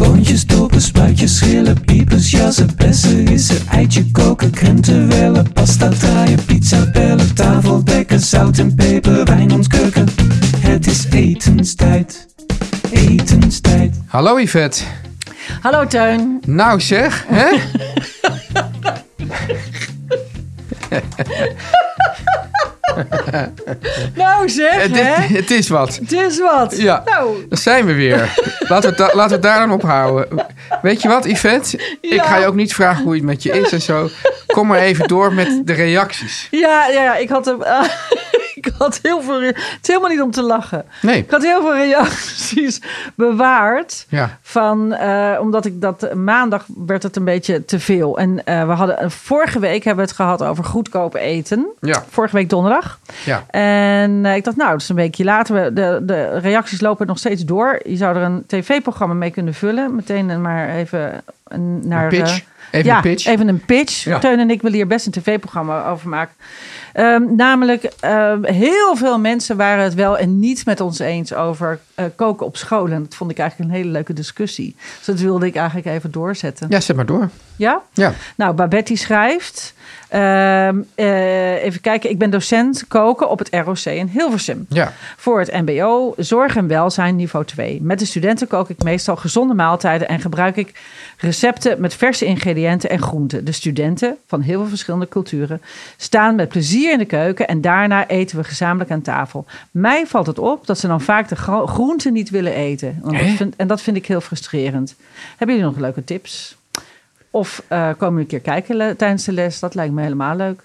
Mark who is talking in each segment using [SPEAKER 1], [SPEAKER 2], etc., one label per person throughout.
[SPEAKER 1] Boontjes, dopen, spruitjes, schillen, piepers, jassen, bessen, rissen, eitje koken, krenten wellen, pasta draaien, pizza bellen, tafel dekken, zout en peper, wijn ontkurken. Het is etenstijd, etenstijd.
[SPEAKER 2] Hallo Yvette.
[SPEAKER 3] Hallo Teun.
[SPEAKER 2] Nou zeg, hè?
[SPEAKER 3] Nou zeg,
[SPEAKER 2] het,
[SPEAKER 3] hè?
[SPEAKER 2] is, het is wat.
[SPEAKER 3] Het is wat.
[SPEAKER 2] Eh, Ja,
[SPEAKER 3] Nou,
[SPEAKER 2] dan zijn we weer. Laten we, het da- laten we het daar dan ophouden. Weet je wat, Yvette? Ik
[SPEAKER 3] Ja.
[SPEAKER 2] ga je ook niet vragen hoe het met je is en zo. Kom maar even door met de reacties.
[SPEAKER 3] ja, ja, ja, ik had hem... eh, ik had heel veel... re- Het is helemaal niet om te lachen.
[SPEAKER 2] Nee.
[SPEAKER 3] Ik had heel veel reacties bewaard.
[SPEAKER 2] Ja.
[SPEAKER 3] Van, eh, omdat ik dat maandag werd het een beetje te veel. En eh, we hadden vorige week hebben we het gehad over goedkoop eten.
[SPEAKER 2] Ja.
[SPEAKER 3] Vorige week donderdag.
[SPEAKER 2] Ja.
[SPEAKER 3] En eh, ik dacht, nou, het is een weekje later. We- De, de reacties lopen nog steeds door. Je zou er een tv-programma mee kunnen vullen. Meteen eh, maar even een- naar...
[SPEAKER 2] pitch.
[SPEAKER 3] eh,
[SPEAKER 2] Even
[SPEAKER 3] ja,
[SPEAKER 2] een pitch.
[SPEAKER 3] even een pitch.
[SPEAKER 2] Ja.
[SPEAKER 3] Teun en ik willen hier best een tv-programma over maken. Ehm, namelijk, ehm, heel veel mensen waren het wel en niet met ons eens over eh, koken op school. En dat vond ik eigenlijk een hele leuke discussie. Dus dat wilde ik eigenlijk even doorzetten.
[SPEAKER 2] Ja, zet maar door.
[SPEAKER 3] Ja?
[SPEAKER 2] Ja.
[SPEAKER 3] Nou, Babette die schrijft. ehm, eh, even kijken, ik ben docent koken op het ROC in Hilversum.
[SPEAKER 2] Ja.
[SPEAKER 3] Voor het MBO, zorg en welzijn niveau 2. Met de studenten kook ik meestal gezonde maaltijden en gebruik ik recepten met verse ingrediënten en groenten. De studenten van heel veel verschillende culturen staan met plezier in de keuken en daarna eten we gezamenlijk aan tafel. Mij valt het op dat ze dan vaak de gro- groenten niet willen eten. Want dat
[SPEAKER 2] Hè?
[SPEAKER 3] vind- en dat vind ik heel frustrerend. Hebben jullie nog leuke tips? Of eh, komen we een keer kijken le- tijdens de les? Dat lijkt me helemaal leuk.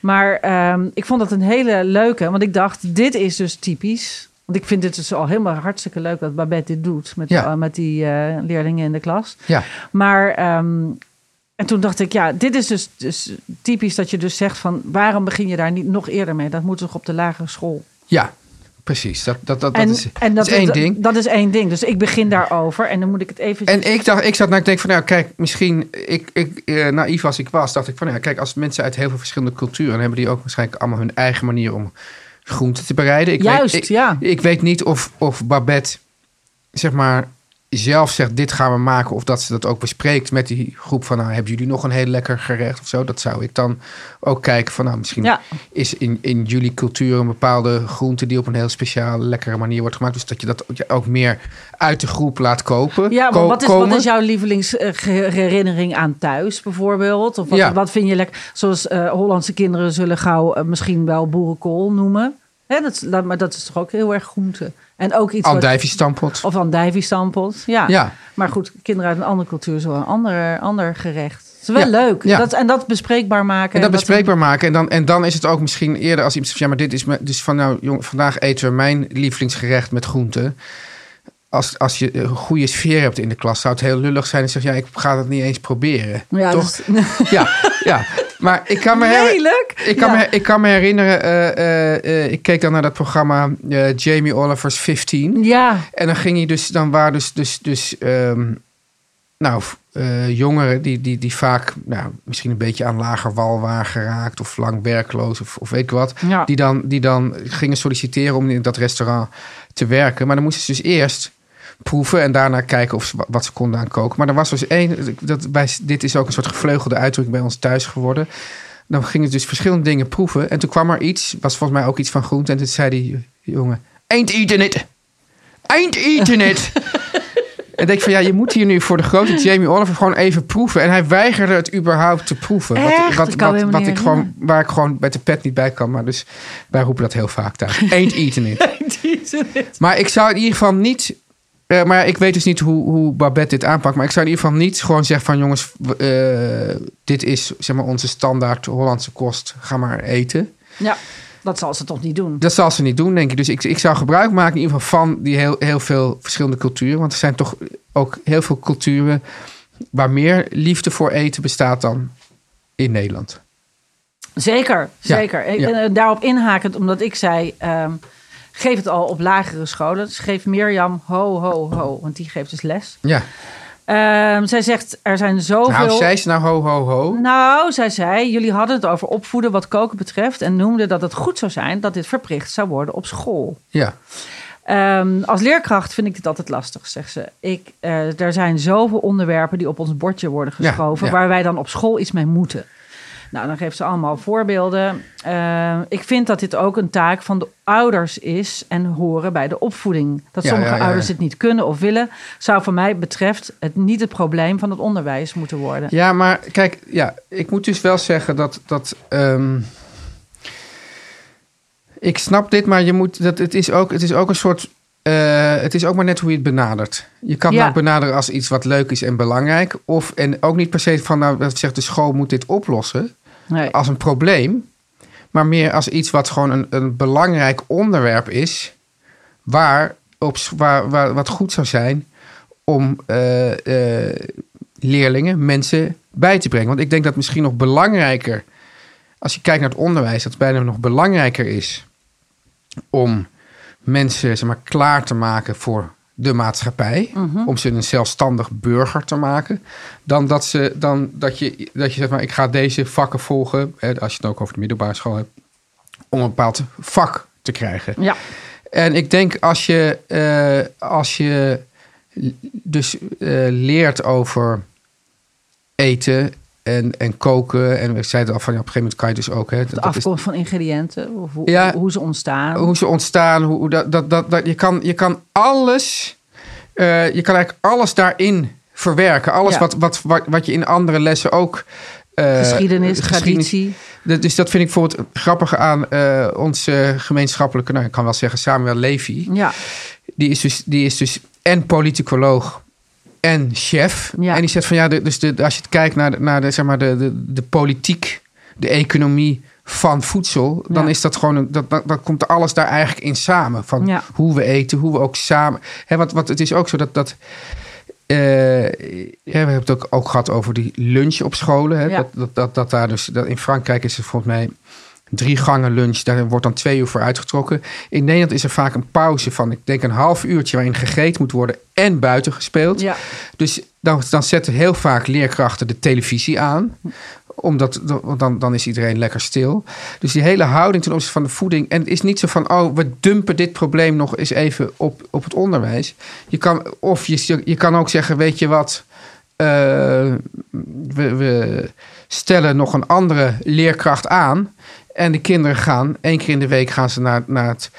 [SPEAKER 3] Maar ehm, ik vond dat een hele leuke. Want ik dacht, dit is dus typisch. Want ik vind dit dus al helemaal hartstikke leuk dat Babette dit doet. Met,
[SPEAKER 2] Ja.
[SPEAKER 3] eh, met die eh, leerlingen in de klas.
[SPEAKER 2] Ja.
[SPEAKER 3] Maar ehm, en toen dacht ik, ja, dit is dus, dus typisch dat je dus zegt van... waarom begin je daar niet nog eerder mee? Dat moet toch op de lagere school?
[SPEAKER 2] Ja. Precies. Dat, dat, dat, dat is, dat is één
[SPEAKER 3] dat-
[SPEAKER 2] ding.
[SPEAKER 3] Dat is één ding. Dus ik begin daarover en dan moet ik het even...
[SPEAKER 2] En ik dacht, ik zat nou te denken van, nou kijk, misschien, ik, ik, eh, naïef als ik was, dacht ik van, nou kijk, als mensen uit heel veel verschillende culturen, hebben die ook waarschijnlijk allemaal hun eigen manier om groenten te bereiden. Ik
[SPEAKER 3] Juist,
[SPEAKER 2] weet, ik,
[SPEAKER 3] ja.
[SPEAKER 2] Ik weet niet of, of Babette, zeg maar, zelf zegt, dit gaan we maken, of dat ze dat ook bespreekt met die groep van, nou, hebben jullie nog een heel lekker gerecht of zo? Dat zou ik dan ook kijken van, nou, misschien
[SPEAKER 3] Ja.
[SPEAKER 2] is in, in jullie cultuur een bepaalde groente die op een heel speciaal lekkere manier wordt gemaakt. Dus dat je dat ook meer uit de groep laat kopen.
[SPEAKER 3] Ja, maar
[SPEAKER 2] ko-
[SPEAKER 3] wat is,
[SPEAKER 2] komen.
[SPEAKER 3] wat is jouw lievelingsherinnering aan thuis bijvoorbeeld? Of wat,
[SPEAKER 2] Ja.
[SPEAKER 3] wat vind je lekker? Zoals eh, Hollandse kinderen zullen gauw eh, misschien wel boerenkool noemen. Hè, dat, is- dat- maar dat is toch ook heel erg groente. En ook iets wat-
[SPEAKER 2] Andijviestampot.
[SPEAKER 3] of andijviestampelt. Ja.
[SPEAKER 2] Ja.
[SPEAKER 3] Maar goed, kinderen uit een andere cultuur zullen een ander, ander gerecht. Het is wel
[SPEAKER 2] Ja,
[SPEAKER 3] leuk.
[SPEAKER 2] ja.
[SPEAKER 3] Dat, en dat bespreekbaar maken.
[SPEAKER 2] En dat
[SPEAKER 3] wat-
[SPEAKER 2] bespreekbaar maken. En dan, en dan is het ook misschien eerder als iemand zegt... ja, maar dit is... mijn- Dus van nou, jong, vandaag eten we mijn lievelingsgerecht met groenten. Als, als je een goede sfeer hebt in de klas... zou het heel lullig zijn en zeggen... ja, ik ga dat niet eens proberen.
[SPEAKER 3] Ja,
[SPEAKER 2] Toch?
[SPEAKER 3] dat is-
[SPEAKER 2] Ja, ja. Maar ik kan me her-
[SPEAKER 3] Lelijk.
[SPEAKER 2] Ik kan,
[SPEAKER 3] Ja.
[SPEAKER 2] me, ik kan me herinneren, eh, eh, eh, ik keek dan naar dat programma eh, Jamie Oliver's 15.
[SPEAKER 3] Ja,
[SPEAKER 2] En dan ging hij dus, dan waren dus, dus, dus ehm, nou, f- eh, jongeren die, die, die vaak, nou, misschien een beetje aan lager wal waren geraakt of lang werkloos of, of weet ik wat.
[SPEAKER 3] Ja.
[SPEAKER 2] Die, dan, die dan gingen solliciteren om in dat restaurant te werken. Maar dan moesten ze dus eerst proeven en daarna kijken of ze, wa- wat ze konden aan koken. Maar er was dus één, dat bij, dit is ook een soort gevleugelde uitdrukking bij ons thuis geworden. Dan gingen ze dus verschillende dingen proeven. En toen kwam er iets, was volgens mij ook iets van groente. En toen zei die jongen, Ain't eating it. Ain't eating it. en denk ik van ja, je moet hier nu voor de grote Jamie Oliver gewoon even proeven. En hij weigerde het überhaupt te proeven.
[SPEAKER 3] Echt?
[SPEAKER 2] Wat, wat,
[SPEAKER 3] Ik kan
[SPEAKER 2] wat,
[SPEAKER 3] helemaal
[SPEAKER 2] wat
[SPEAKER 3] niet
[SPEAKER 2] ik gewoon, waar ik gewoon met de pet niet bij kan. Maar dus wij roepen dat heel vaak thuis. Ain't eating it.
[SPEAKER 3] Die is het.
[SPEAKER 2] Maar ik zou in ieder geval niet. eh, maar ik weet dus niet hoe, hoe Babette dit aanpakt. Maar ik zou in ieder geval niet gewoon zeggen van jongens, w- eh, dit is zeg maar onze standaard Hollandse kost. Ga maar eten.
[SPEAKER 3] ja, dat zal ze toch niet doen.
[SPEAKER 2] Dat zal ze niet doen, denk ik. Dus ik, ik zou gebruik maken in ieder geval van die heel, heel veel verschillende culturen. Want er zijn toch ook heel veel culturen waar meer liefde voor eten bestaat dan in Nederland.
[SPEAKER 3] Zeker,
[SPEAKER 2] Ja,
[SPEAKER 3] zeker. Ik-
[SPEAKER 2] ja.
[SPEAKER 3] En eh, daarop inhakend, omdat ik zei... ehm, geef het al op lagere scholen. Dus geef Mirjam ho, ho, ho. Want die geeft dus les.
[SPEAKER 2] Ja.
[SPEAKER 3] Ehm, zij zegt, er zijn zoveel...
[SPEAKER 2] Nou, zei ze nou ho, ho, ho.
[SPEAKER 3] Nou, zij zei, jullie hadden het over opvoeden wat koken betreft... en noemden dat het goed zou zijn dat dit verplicht zou worden op school.
[SPEAKER 2] Ja.
[SPEAKER 3] Ehm, als leerkracht vind ik dit altijd lastig, zegt ze. Ik, eh, er zijn zoveel onderwerpen die op ons bordje worden
[SPEAKER 2] Ja,
[SPEAKER 3] geschoven...
[SPEAKER 2] ja.
[SPEAKER 3] waar wij dan op school iets mee moeten. Nou, dan geeft ze allemaal voorbeelden. Ehm, ik vind dat dit ook een taak van de ouders is en horen bij de opvoeding. Dat
[SPEAKER 2] Ja,
[SPEAKER 3] sommige
[SPEAKER 2] ja, ja,
[SPEAKER 3] ouders
[SPEAKER 2] ja.
[SPEAKER 3] dit niet kunnen of willen... zou voor mij betreft het niet het probleem van het onderwijs moeten worden.
[SPEAKER 2] Ja, maar kijk, ja, ik moet dus wel zeggen dat. dat ehm, ik snap dit, maar je moet, dat, het, is ook, het is ook een soort. eh, het is ook maar net hoe je het benadert. Je kan
[SPEAKER 3] Ja.
[SPEAKER 2] het ook benaderen als iets wat leuk is en belangrijk. Of, en ook niet per se van, nou, dat zegt de school moet dit oplossen.
[SPEAKER 3] Nee.
[SPEAKER 2] Als een probleem. Maar meer als iets wat gewoon een, een belangrijk onderwerp is. Waar, op, s- waar, waar wat goed zou zijn om eh, eh, leerlingen, mensen bij te brengen. Want ik denk dat misschien nog belangrijker, als je kijkt naar het onderwijs, dat het bijna nog belangrijker is om mensen zeg maar, klaar te maken voor de maatschappij. Om ze een zelfstandig burger te maken. Dan dat, ze, dan dat je, dat je zegt, maar, ik ga deze vakken volgen, hè, als je het ook over de middelbare school hebt, om een bepaald vak te krijgen.
[SPEAKER 3] Ja,
[SPEAKER 2] En ik denk als je, eh, als je l- dus eh, leert over eten en, en koken. En ik zei het al van ja, op een gegeven moment kan je dus ook. Hè,
[SPEAKER 3] de
[SPEAKER 2] dat is-
[SPEAKER 3] afkomst van ingrediënten, of hoe,
[SPEAKER 2] Ja.
[SPEAKER 3] hoe ze ontstaan.
[SPEAKER 2] hoe ze ontstaan. Hoe, hoe dat, dat, dat, dat, je, kan, je kan alles. eh, je kan eigenlijk alles daarin verwerken. Alles
[SPEAKER 3] Ja.
[SPEAKER 2] wat, wat, wat, wat je in andere lessen ook. eh,
[SPEAKER 3] geschiedenis,
[SPEAKER 2] geschiedenis-
[SPEAKER 3] traditie.
[SPEAKER 2] dat- Dus dat vind ik bijvoorbeeld grappig aan eh, onze gemeenschappelijke, nou ik kan wel zeggen Samuel Levy.
[SPEAKER 3] Ja,
[SPEAKER 2] die is dus, die is dus en politicoloog en chef.
[SPEAKER 3] Ja.
[SPEAKER 2] En die zegt van ja, de- dus de, als je het kijkt naar, de, naar de, zeg maar de, de, de politiek, de economie van voedsel, dan
[SPEAKER 3] Ja.
[SPEAKER 2] is dat gewoon, een, dat, dat, dan komt alles daar eigenlijk in samen. Van
[SPEAKER 3] Ja.
[SPEAKER 2] hoe we eten, hoe we ook samen. Hè, want, want het is ook zo dat. dat eh, hè, we hebben het ook, ook gehad over die lunch op scholen. Hè?
[SPEAKER 3] Ja.
[SPEAKER 2] Dat, dat, dat, dat daar dus, dat in Frankrijk is het volgens mij drie gangen lunch. Daar wordt dan twee uur voor uitgetrokken. In Nederland is er vaak een pauze van, ik denk een half uurtje... waarin gegeten moet worden en buiten gespeeld.
[SPEAKER 3] ja.
[SPEAKER 2] Dus dan, dan zetten heel vaak leerkrachten de televisie aan omdat want dan, dan is iedereen lekker stil. Dus die hele houding ten opzichte van de voeding. En het is niet zo van, oh, we dumpen dit probleem nog eens even op, op het onderwijs. Je kan, of je, je kan ook zeggen, weet je wat, eh, we, we stellen nog een andere leerkracht aan. En de kinderen gaan, één keer in de week gaan ze naar, naar het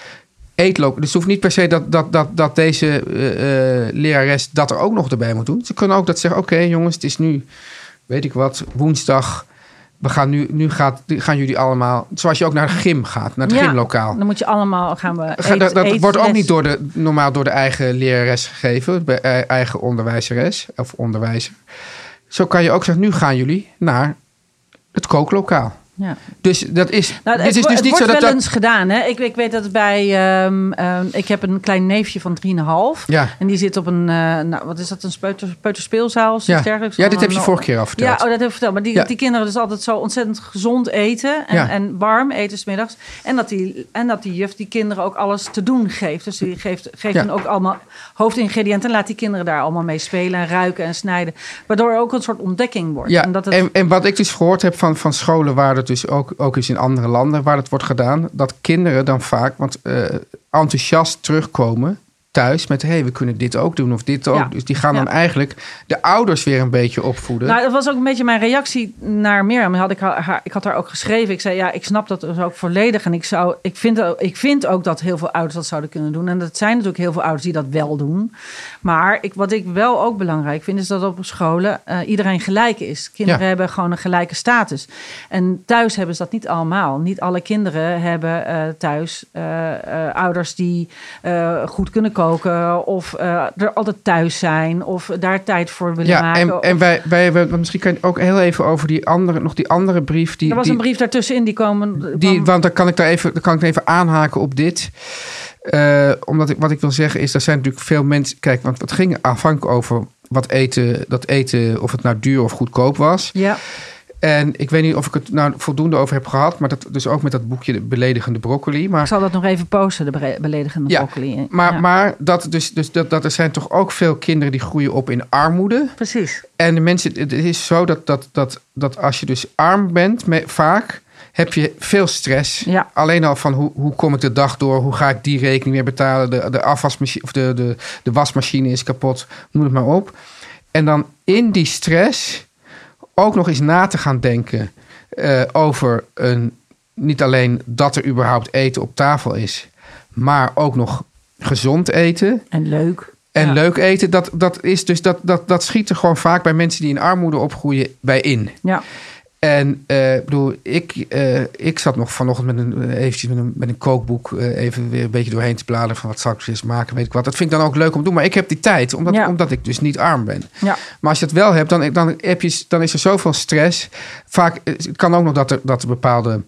[SPEAKER 2] eetloop. Dus het hoeft niet per se dat, dat, dat, dat deze eh, eh, lerares dat er ook nog erbij moet doen. Ze kunnen ook dat zeggen, oké jongens, het is nu, weet ik wat, woensdag. We gaan nu, nu gaat, gaan jullie allemaal, zoals je ook naar de gym gaat, naar het
[SPEAKER 3] Ja,
[SPEAKER 2] gymlokaal.
[SPEAKER 3] Dan moet je allemaal gaan we.
[SPEAKER 2] Ga-
[SPEAKER 3] eet-
[SPEAKER 2] dat dat wordt ook
[SPEAKER 3] eetles.
[SPEAKER 2] niet door de, normaal door de eigen lerares gegeven, bij ei- eigen onderwijzeres of onderwijzer. Zo kan je ook zeggen, nu gaan jullie naar het kooklokaal.
[SPEAKER 3] Ja.
[SPEAKER 2] Dus dat is,
[SPEAKER 3] Nou, het
[SPEAKER 2] dit is
[SPEAKER 3] wo-
[SPEAKER 2] dus
[SPEAKER 3] het
[SPEAKER 2] niet zo
[SPEAKER 3] wordt
[SPEAKER 2] dat
[SPEAKER 3] wel
[SPEAKER 2] dat...
[SPEAKER 3] eens gedaan. Hè? Ik, ik weet dat het bij. ehm, ehm, ik heb een klein neefje van 3,5.
[SPEAKER 2] Ja.
[SPEAKER 3] En die zit op een. eh, nou, wat is dat? Een peuter, peuterspeelzaal. Of
[SPEAKER 2] Ja.
[SPEAKER 3] iets dergelijks.
[SPEAKER 2] ja, dit heb je
[SPEAKER 3] Een-
[SPEAKER 2] vorige keer al verteld.
[SPEAKER 3] Ja, oh, dat heb ik verteld. Maar die,
[SPEAKER 2] Ja.
[SPEAKER 3] die kinderen dus altijd zo ontzettend gezond eten. En,
[SPEAKER 2] Ja.
[SPEAKER 3] en warm eten smiddags. En dat, die, en dat die juf die kinderen ook alles te doen geeft. Dus die geeft, geeft
[SPEAKER 2] Ja.
[SPEAKER 3] hen ook allemaal hoofdingrediënten. En laat die kinderen daar allemaal mee spelen en ruiken en snijden. Waardoor er ook een soort ontdekking wordt.
[SPEAKER 2] Ja,
[SPEAKER 3] en
[SPEAKER 2] en,
[SPEAKER 3] dat het,
[SPEAKER 2] en, wat ik dus gehoord heb van, van scholen waar dat dus ook, ook is in andere landen waar dat wordt gedaan, dat kinderen dan vaak want, eh, enthousiast terugkomen thuis met... hé, hey, we kunnen dit ook doen of dit ook.
[SPEAKER 3] Ja.
[SPEAKER 2] Dus die gaan dan
[SPEAKER 3] Ja.
[SPEAKER 2] eigenlijk de ouders weer een beetje opvoeden.
[SPEAKER 3] Nou, dat was ook een beetje mijn reactie naar Mirjam. Had ik, haar, haar- ik had haar ook geschreven. Ik zei, ja, ik snap dat dus ook volledig. En ik, zou, ik, vind, ook- ik vind ook dat heel veel ouders dat zouden kunnen doen. En dat zijn natuurlijk heel veel ouders die dat wel doen. Maar ik, wat ik wel ook belangrijk vind... is dat op scholen eh, iedereen gelijk is. Kinderen
[SPEAKER 2] Ja.
[SPEAKER 3] hebben gewoon een gelijke status. En thuis hebben ze dat niet allemaal. Niet alle kinderen hebben eh, thuis eh, eh, ouders die eh, goed kunnen koken... of eh, er altijd thuis zijn of daar tijd voor willen
[SPEAKER 2] ja,
[SPEAKER 3] maken.
[SPEAKER 2] en, en wij, wij hebben... want misschien kan je ook heel even over die andere, nog die andere brief... Die,
[SPEAKER 3] Er was
[SPEAKER 2] die,
[SPEAKER 3] een brief daartussenin die komen.
[SPEAKER 2] Die,
[SPEAKER 3] kwam-
[SPEAKER 2] want dan kan ik daar even, dan kan ik even aanhaken op dit. Eh, omdat ik, wat ik wil zeggen is, er zijn natuurlijk veel mensen. Kijk, want het ging afhankelijk over wat eten, dat eten, of het nou duur of goedkoop was.
[SPEAKER 3] ja,
[SPEAKER 2] En ik weet niet of ik het nou voldoende over heb gehad, maar dat dus ook met dat boekje de beledigende broccoli. Maar
[SPEAKER 3] ik zal dat nog even posten, de bere- beledigende
[SPEAKER 2] Ja,
[SPEAKER 3] broccoli.
[SPEAKER 2] maar,
[SPEAKER 3] Ja,
[SPEAKER 2] maar dat, dus, dus dat, dat er zijn toch ook veel kinderen die groeien op in armoede.
[SPEAKER 3] precies.
[SPEAKER 2] En de mensen, het is zo dat, dat, dat, dat als je dus arm bent, me- vaak heb je veel stress.
[SPEAKER 3] Ja.
[SPEAKER 2] Alleen al van hoe, hoe kom ik de dag door? Hoe ga ik die rekening weer betalen? De, de, afwasmachine, of de, de, de wasmachine is kapot, noem het maar op. En dan in die stress ook nog eens na te gaan denken eh, over een, niet alleen dat er überhaupt eten op tafel is, maar ook nog gezond eten.
[SPEAKER 3] En leuk.
[SPEAKER 2] En
[SPEAKER 3] Ja.
[SPEAKER 2] leuk eten, dat, dat, is dus, dat, dat, dat schiet er gewoon vaak bij mensen die in armoede opgroeien bij in.
[SPEAKER 3] Ja,
[SPEAKER 2] En eh, ik bedoel, ik, eh, ik zat nog vanochtend met een, eh, eventjes met een, met een kookboek eh, even weer een beetje doorheen te bladeren van wat zal ik eens maken, weet ik wat. Dat vind ik dan ook leuk om te doen, maar ik heb die tijd, omdat,
[SPEAKER 3] Ja.
[SPEAKER 2] omdat ik dus niet arm ben.
[SPEAKER 3] ja.
[SPEAKER 2] Maar als je het wel hebt, dan, dan, heb je, dan is er zoveel stress. Vaak eh, het kan ook nog dat er, dat er bepaalde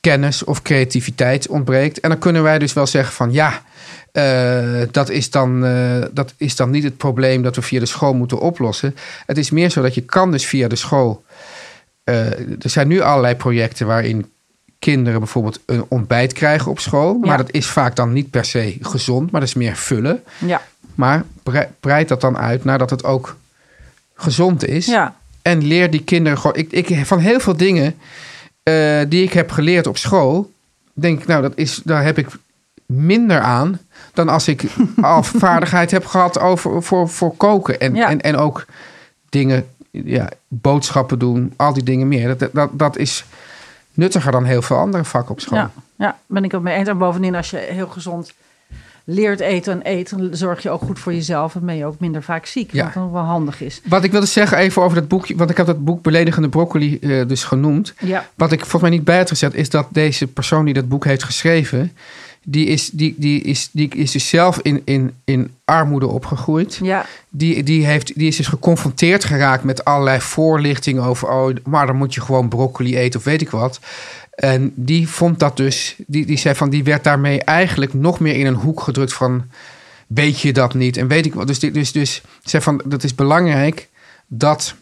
[SPEAKER 2] kennis of creativiteit ontbreekt. En dan kunnen wij dus wel zeggen van ja, eh, dat, is dan, eh, dat is dan niet het probleem dat we via de school moeten oplossen. Het is meer zo dat je kan dus via de school. eh, er zijn nu allerlei projecten waarin kinderen bijvoorbeeld een ontbijt krijgen op school.
[SPEAKER 3] Ja.
[SPEAKER 2] Maar dat is vaak dan niet per se gezond, maar dat is meer vullen.
[SPEAKER 3] ja.
[SPEAKER 2] Maar brei- breid dat dan uit nadat het ook gezond is.
[SPEAKER 3] ja.
[SPEAKER 2] En leer die kinderen gewoon. Ik, ik, van heel veel dingen eh, die ik heb geleerd op school, denk ik, nou, dat is, daar heb ik minder aan dan als ik al vaardigheid heb gehad over, voor, voor koken. En,
[SPEAKER 3] Ja.
[SPEAKER 2] en, en ook dingen, ja, boodschappen doen, al die dingen meer. Dat, dat, dat is nuttiger dan heel veel andere vakken op school.
[SPEAKER 3] Ja, ja, ben ik het mee eens. En bovendien, als je heel gezond leert eten en eten, dan zorg je ook goed voor jezelf. En ben je ook minder vaak ziek,
[SPEAKER 2] Ja.
[SPEAKER 3] wat dan wel handig is.
[SPEAKER 2] Wat ik wilde zeggen even over dat boekje, want ik heb dat boek Beledigende Broccoli eh, dus genoemd.
[SPEAKER 3] Ja,
[SPEAKER 2] Wat ik volgens mij niet bij had gezet, is dat deze persoon die dat boek heeft geschreven, die is, die, die is, die is dus zelf in, in, in armoede opgegroeid.
[SPEAKER 3] ja,
[SPEAKER 2] Die, die, heeft, die is dus geconfronteerd geraakt met allerlei voorlichting over, oh, maar dan moet je gewoon broccoli eten of weet ik wat. En die vond dat dus, die, die zei van, die werd daarmee eigenlijk nog meer in een hoek gedrukt van, weet je dat niet en weet ik wat. Dus, die- dus, dus zei van, dat is belangrijk dat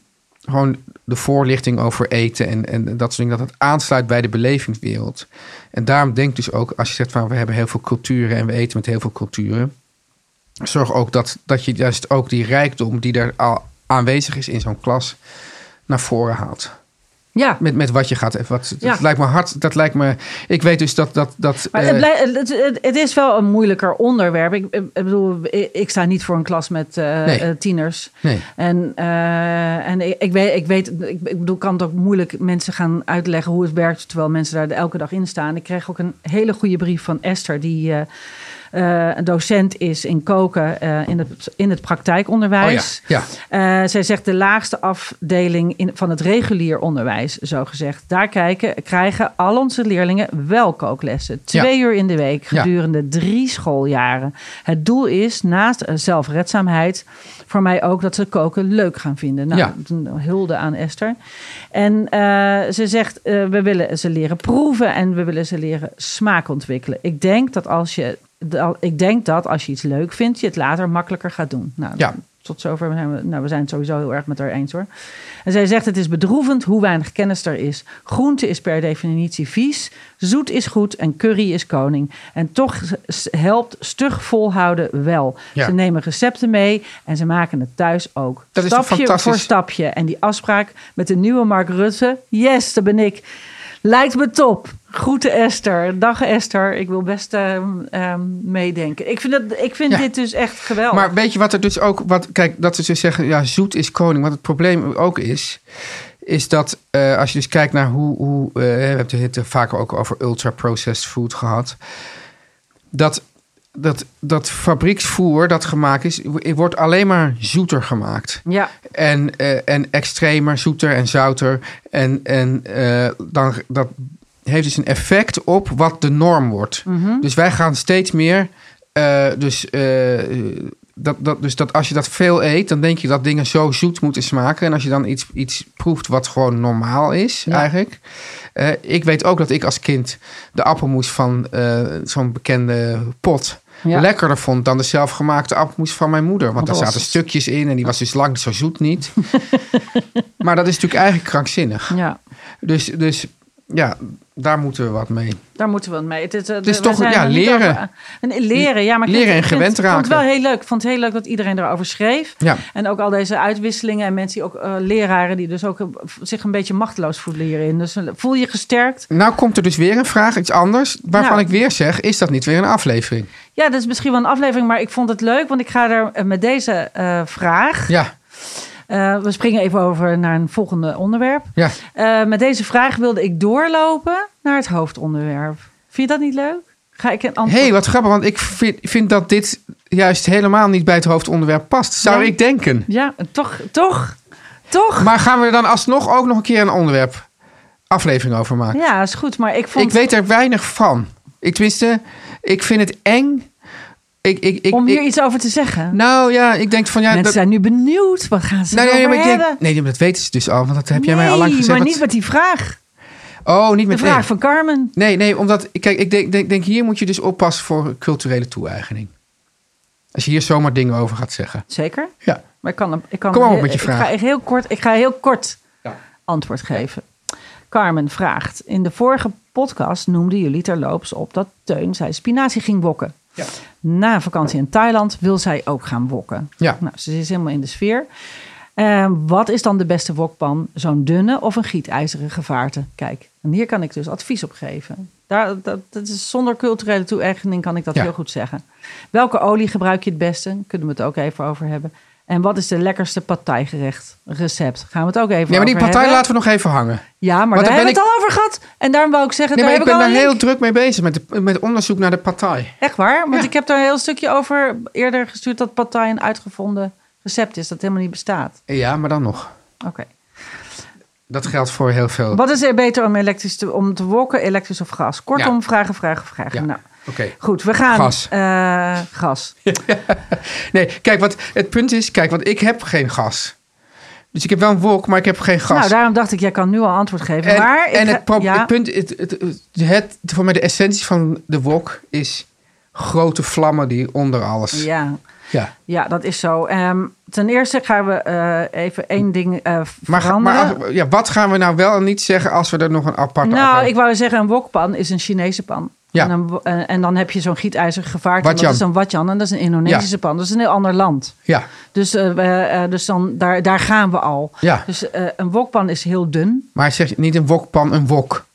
[SPEAKER 2] gewoon de voorlichting over eten en, en dat soort dingen, dat het aansluit bij de belevingswereld. En daarom denk ik dus ook, als je zegt van, we hebben heel veel culturen en we eten met heel veel culturen zorg ook dat, dat je juist ook die rijkdom die er al aanwezig is in zo'n klas naar voren haalt.
[SPEAKER 3] ja.
[SPEAKER 2] Met, met wat je gaat. e- Wat,
[SPEAKER 3] Ja.
[SPEAKER 2] Dat lijkt me hard. Dat lijkt me. Ik weet dus dat. dat, dat
[SPEAKER 3] Maar het,
[SPEAKER 2] eh,
[SPEAKER 3] blij- het, het- het is wel een moeilijker onderwerp. Ik, ik bedoel, ik, ik sta niet voor een klas met eh,
[SPEAKER 2] Nee.
[SPEAKER 3] eh, tieners.
[SPEAKER 2] nee.
[SPEAKER 3] En, eh, en ik, ik weet, ik, weet ik, ik bedoel, kan het ook moeilijk mensen gaan uitleggen hoe het werkt, terwijl mensen daar elke dag in staan. Ik kreeg ook een hele goede brief van Esther, die eh, eh, een docent is in koken eh, in, het, in het
[SPEAKER 2] Oh ja.
[SPEAKER 3] praktijkonderwijs.
[SPEAKER 2] ja.
[SPEAKER 3] Eh, zij zegt de laagste afdeling in, van het regulier onderwijs, zo gezegd. Daar kijken, krijgen al onze leerlingen wel kooklessen.
[SPEAKER 2] Ja.
[SPEAKER 3] Twee uur in de week,
[SPEAKER 2] Ja.
[SPEAKER 3] gedurende drie schooljaren. Het doel is, naast eh, zelfredzaamheid, voor mij ook dat ze koken leuk gaan vinden. Nou,
[SPEAKER 2] Ja.
[SPEAKER 3] een hulde aan Esther. En eh, ze zegt, eh, we willen ze leren proeven en we willen ze leren smaak ontwikkelen. Ik denk dat als je, dat- ik denk dat als je iets leuk vindt, je het later makkelijker gaat doen. Nou,
[SPEAKER 2] Ja.
[SPEAKER 3] tot zover zijn we, nou, we zijn het sowieso heel erg met haar eens hoor. En zij zegt, het is bedroevend hoe weinig kennis er is. Groente is per definitie vies, zoet is goed en curry is koning. En toch s- helpt stug volhouden wel.
[SPEAKER 2] Ja.
[SPEAKER 3] Ze nemen recepten mee en ze maken het thuis ook.
[SPEAKER 2] Dat is toch
[SPEAKER 3] stapje
[SPEAKER 2] fantastisch?
[SPEAKER 3] voor stapje. En die afspraak met de nieuwe Mark Rutte, yes, dat ben ik. Lijkt me top. Groeten Esther. Dag Esther. Ik wil best ehm, ehm, meedenken. Ik vind, dat, ik vind
[SPEAKER 2] Ja.
[SPEAKER 3] dit dus echt geweldig.
[SPEAKER 2] Maar weet je wat er dus ook... Wat, kijk, dat ze dus zeggen, ja, zoet is koning. Wat het probleem ook is, is dat eh, als je dus kijkt naar hoe... hoe eh, we hebben het hier te- vaker ook over ultra-processed food gehad. Dat, dat, dat fabrieksvoer dat gemaakt is, wordt alleen maar zoeter gemaakt.
[SPEAKER 3] ja,
[SPEAKER 2] En, eh, en extremer, zoeter en zouter. En, en eh, dan, dat heeft dus een effect op wat de norm wordt. Dus wij gaan steeds meer. eh, dus, eh, dat, dat, dus dat als je dat veel eet, dan denk je dat dingen zo zoet moeten smaken. En als je dan iets, iets proeft wat gewoon normaal is,
[SPEAKER 3] Ja.
[SPEAKER 2] eigenlijk. Eh, ik weet ook dat ik als kind de appelmoes van eh, zo'n bekende pot.
[SPEAKER 3] Ja.
[SPEAKER 2] lekkerder vond dan de zelfgemaakte appelmoes van mijn moeder. Want
[SPEAKER 3] dat
[SPEAKER 2] daar
[SPEAKER 3] was
[SPEAKER 2] zaten stukjes in en die was dus lang zo zoet niet. maar dat is natuurlijk eigenlijk krankzinnig.
[SPEAKER 3] ja,
[SPEAKER 2] Dus, dus ja, daar moeten we wat mee.
[SPEAKER 3] daar moeten we aan mee. Het, het, het
[SPEAKER 2] is toch- ja, leren.
[SPEAKER 3] en leren, ja, maar
[SPEAKER 2] Leren
[SPEAKER 3] ik vind-
[SPEAKER 2] en
[SPEAKER 3] ik vind-
[SPEAKER 2] gewend
[SPEAKER 3] Ik vond het
[SPEAKER 2] raken.
[SPEAKER 3] wel heel leuk. Ik vond het heel leuk dat iedereen erover schreef.
[SPEAKER 2] Ja.
[SPEAKER 3] En ook al deze uitwisselingen en mensen die ook eh, leraren die dus ook eh, zich een beetje machteloos voelen hierin. Dus eh, voel je gesterkt.
[SPEAKER 2] Nou komt er dus weer een vraag, iets anders, waarvan
[SPEAKER 3] Nou.
[SPEAKER 2] ik weer zeg, is dat niet weer een aflevering?
[SPEAKER 3] Ja, dat is misschien wel een aflevering, maar ik vond het leuk, want ik ga er eh, met deze eh, vraag.
[SPEAKER 2] Ja,
[SPEAKER 3] Eh, we springen even over naar een volgende onderwerp.
[SPEAKER 2] ja.
[SPEAKER 3] Eh, met deze vraag wilde ik doorlopen naar het hoofdonderwerp. Vind je dat niet leuk? Ga ik een
[SPEAKER 2] Hé,
[SPEAKER 3] antwoord?
[SPEAKER 2] hey, wat grappig, want ik vind, vind dat dit juist helemaal niet bij het hoofdonderwerp past, zou
[SPEAKER 3] Nee.
[SPEAKER 2] ik denken.
[SPEAKER 3] Ja, toch, toch, toch.
[SPEAKER 2] Maar gaan we er dan alsnog ook nog een keer een onderwerp aflevering over maken?
[SPEAKER 3] Ja, is goed, maar ik vond
[SPEAKER 2] Ik weet er weinig van. Ik tenminste, ik vind het eng. Ik, ik, ik,
[SPEAKER 3] om hier
[SPEAKER 2] ik-
[SPEAKER 3] iets over te zeggen.
[SPEAKER 2] nou ja, ik denk van ja.
[SPEAKER 3] Mensen
[SPEAKER 2] dat,
[SPEAKER 3] zijn nu benieuwd. Wat gaan ze
[SPEAKER 2] nou,
[SPEAKER 3] nou,
[SPEAKER 2] ja, maar
[SPEAKER 3] hebben?
[SPEAKER 2] ik denk, nee, maar dat weten ze dus al, want dat heb jij mij al lang
[SPEAKER 3] Nee,
[SPEAKER 2] gezegd.
[SPEAKER 3] maar
[SPEAKER 2] dat-
[SPEAKER 3] niet met die vraag.
[SPEAKER 2] oh, niet
[SPEAKER 3] De
[SPEAKER 2] met
[SPEAKER 3] vraag
[SPEAKER 2] nee.
[SPEAKER 3] van Carmen.
[SPEAKER 2] Nee, nee, omdat kijk, ik denk, denk, denk hier moet je dus oppassen voor culturele toe-eigening. Als je hier zomaar dingen over gaat zeggen.
[SPEAKER 3] Zeker.
[SPEAKER 2] Ja.
[SPEAKER 3] Maar ik kan, ik kan
[SPEAKER 2] Kom maar op met je
[SPEAKER 3] Ik
[SPEAKER 2] vraag.
[SPEAKER 3] ga echt heel kort, ik ga heel kort
[SPEAKER 2] Ja.
[SPEAKER 3] antwoord geven. Carmen vraagt: In de vorige podcast noemden jullie terloops op dat Teun zijn spinazie ging wokken.
[SPEAKER 2] Ja.
[SPEAKER 3] Na een vakantie in Thailand wil zij ook gaan wokken.
[SPEAKER 2] Ja.
[SPEAKER 3] Nou, ze is helemaal in de sfeer. Eh, wat is dan de beste wokpan? Zo'n dunne of een gietijzeren vaarte? Kijk, en hier kan ik dus advies op geven. Daar, dat, dat is zonder culturele toe-eigening kan ik dat
[SPEAKER 2] Ja.
[SPEAKER 3] heel goed zeggen. Welke olie gebruik je het beste? Kunnen we het ook even over hebben. En wat is de lekkerste partijgerecht recept? Gaan we het ook even over
[SPEAKER 2] Nee, maar die partij
[SPEAKER 3] hebben.
[SPEAKER 2] laten we nog even hangen.
[SPEAKER 3] Ja, maar
[SPEAKER 2] Want
[SPEAKER 3] daar
[SPEAKER 2] daar ben
[SPEAKER 3] hebben we het al over gehad. En daarom wou ik zeggen,
[SPEAKER 2] Nee,
[SPEAKER 3] daar
[SPEAKER 2] maar ik
[SPEAKER 3] heb ik,
[SPEAKER 2] ben
[SPEAKER 3] al
[SPEAKER 2] daar
[SPEAKER 3] een
[SPEAKER 2] heel
[SPEAKER 3] link.
[SPEAKER 2] druk mee bezig met, de, met onderzoek naar de partij.
[SPEAKER 3] Echt waar? Want
[SPEAKER 2] Ja.
[SPEAKER 3] ik heb daar een heel stukje over eerder gestuurd... dat partij een uitgevonden recept is dat helemaal niet bestaat.
[SPEAKER 2] Ja, maar dan nog.
[SPEAKER 3] Oké.
[SPEAKER 2] Dat geldt voor heel veel.
[SPEAKER 3] Wat is er beter om, elektrisch te, om te wokken, elektrisch of gas? Kortom,
[SPEAKER 2] Ja.
[SPEAKER 3] vragen, vragen, vragen.
[SPEAKER 2] Ja.
[SPEAKER 3] Nou,
[SPEAKER 2] Oké.
[SPEAKER 3] goed, we gaan...
[SPEAKER 2] Gas.
[SPEAKER 3] eh, gas.
[SPEAKER 2] Nee, kijk, wat het punt is, kijk, want ik heb geen gas. Dus ik heb wel een wolk, maar ik heb geen gas.
[SPEAKER 3] Nou, daarom dacht ik, jij kan nu al antwoord geven.
[SPEAKER 2] en
[SPEAKER 3] maar ik
[SPEAKER 2] en
[SPEAKER 3] ga-
[SPEAKER 2] het, pro-
[SPEAKER 3] ja.
[SPEAKER 2] het punt, het, het, het, het- voor mij de essentie van de wok is grote vlammen die onder alles. Ja.
[SPEAKER 3] Ja. Ja, dat is zo. Ehm, ten eerste gaan we eh, even één ding eh
[SPEAKER 2] Maar, ga-
[SPEAKER 3] veranderen.
[SPEAKER 2] maar als- ja, wat gaan we nou wel en niet zeggen als we er nog een aparte
[SPEAKER 3] nou,
[SPEAKER 2] aflevering-
[SPEAKER 3] ik wou zeggen, een wokpan is een Chinese pan.
[SPEAKER 2] Ja.
[SPEAKER 3] En, een wo- en- en dan heb je zo'n gietijzeren gevaart. Dat
[SPEAKER 2] Watjan.
[SPEAKER 3] is een watjan en dat is een Indonesische pan. Dat is een heel ander land.
[SPEAKER 2] Ja,
[SPEAKER 3] Dus, eh, we, eh, dus dan, daar, daar gaan we al.
[SPEAKER 2] Ja.
[SPEAKER 3] Dus eh, een wokpan is heel dun.
[SPEAKER 2] maar zeg niet een wokpan, een wok.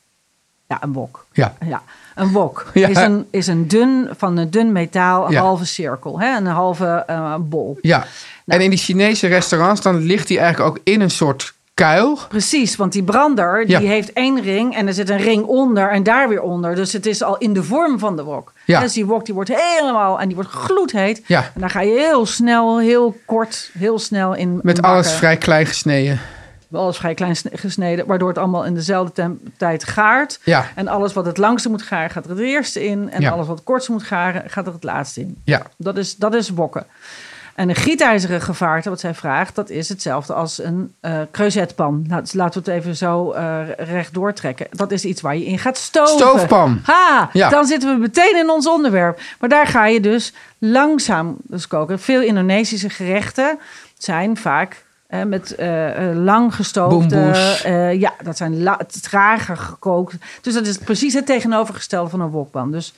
[SPEAKER 3] Ja, een wok.
[SPEAKER 2] Ja,
[SPEAKER 3] Ja, een wok
[SPEAKER 2] Ja.
[SPEAKER 3] is, een, is een dun, van een dun metaal, een
[SPEAKER 2] Ja.
[SPEAKER 3] halve cirkel. Hè? Een halve eh, bol.
[SPEAKER 2] ja. En in die Chinese restaurants, dan ligt die eigenlijk ook in een soort kuil.
[SPEAKER 3] Precies, want die brander
[SPEAKER 2] Ja.
[SPEAKER 3] die heeft één ring en er zit een ring onder en daar weer onder. Dus het is al in de vorm van de wok.
[SPEAKER 2] Ja.
[SPEAKER 3] Dus die wok die wordt helemaal en die wordt gloedheet.
[SPEAKER 2] Ja.
[SPEAKER 3] En dan ga je heel snel, heel kort, heel snel in
[SPEAKER 2] Met
[SPEAKER 3] in
[SPEAKER 2] alles
[SPEAKER 3] bakken.
[SPEAKER 2] vrij klein gesneden.
[SPEAKER 3] alles vrij klein sne- gesneden, waardoor het allemaal in dezelfde tem- tijd gaart.
[SPEAKER 2] Ja.
[SPEAKER 3] En alles wat het langste moet garen gaat er het eerste in. En
[SPEAKER 2] Ja.
[SPEAKER 3] alles wat het kortste moet garen gaat er het laatste in.
[SPEAKER 2] Ja,
[SPEAKER 3] Dat is, dat is wokken. En een gietijzeren gevaarte, wat zij vraagt, dat is hetzelfde als een eh creusetpan. Nou, dus laten we het even zo eh recht doortrekken. Dat is iets waar je in gaat stoven.
[SPEAKER 2] Stoofpan.
[SPEAKER 3] Ha,
[SPEAKER 2] Ja.
[SPEAKER 3] dan zitten we meteen in ons onderwerp. Maar daar ga je dus langzaam dus koken. Veel Indonesische gerechten zijn vaak eh, met eh, eh, lang gestoofde...
[SPEAKER 2] Boemboes.
[SPEAKER 3] eh, ja, dat zijn la- trager gekookt. Dus dat is precies het tegenovergestelde van een wokpan. Dus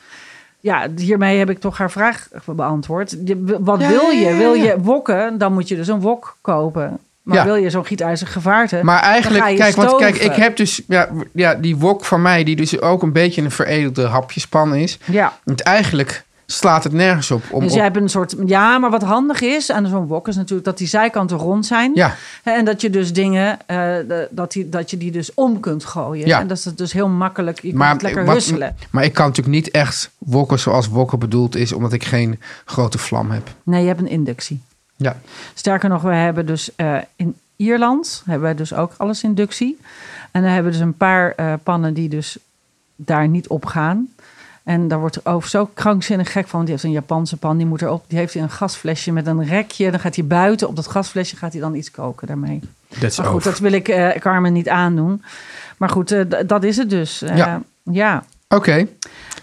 [SPEAKER 3] ja, hiermee heb ik toch haar vraag beantwoord. Je- Wat wil je? Wil je wokken? Dan moet je dus een wok kopen. Maar
[SPEAKER 2] Ja.
[SPEAKER 3] wil je zo'n gietijzer gevaarte?
[SPEAKER 2] Maar
[SPEAKER 3] Eh, ga je
[SPEAKER 2] eigenlijk, kijk, want kijk,
[SPEAKER 3] stoven.
[SPEAKER 2] ik heb dus ja, w- ja, die wok van mij, die dus ook een beetje een veredelde hapjespan is.
[SPEAKER 3] ja.
[SPEAKER 2] Want eigenlijk slaat het nergens op. Om,
[SPEAKER 3] Dus
[SPEAKER 2] op-
[SPEAKER 3] jij hebt een soort. Ja, maar wat handig is aan zo'n wok is natuurlijk dat die zijkanten rond zijn.
[SPEAKER 2] Ja.
[SPEAKER 3] Hè, En dat je dus dingen. eh, de- dat, die, dat je die dus om kunt gooien.
[SPEAKER 2] Ja.
[SPEAKER 3] En dat is dus heel makkelijk. Je kunt het lekker
[SPEAKER 2] wat-
[SPEAKER 3] husselen.
[SPEAKER 2] maar ik kan natuurlijk niet echt wokken zoals wokken bedoeld is, omdat ik geen grote vlam heb.
[SPEAKER 3] Nee, je hebt een inductie.
[SPEAKER 2] Ja,
[SPEAKER 3] Sterker nog, we hebben dus eh, in Ierland hebben we dus ook alles inductie. En dan hebben we dus een paar eh, pannen die dus daar niet op gaan. En daar wordt er over zo krankzinnig gek van. want Die heeft een Japanse pan, die moet erop. Die heeft een gasflesje met een rekje. Dan gaat hij buiten op dat gasflesje, gaat hij dan iets koken daarmee.
[SPEAKER 2] dat is
[SPEAKER 3] Maar goed,
[SPEAKER 2] over.
[SPEAKER 3] dat wil ik eh, Carmen niet aandoen. Maar goed, eh, d- dat is het dus. Eh,
[SPEAKER 2] Ja.
[SPEAKER 3] ja.
[SPEAKER 2] Oké,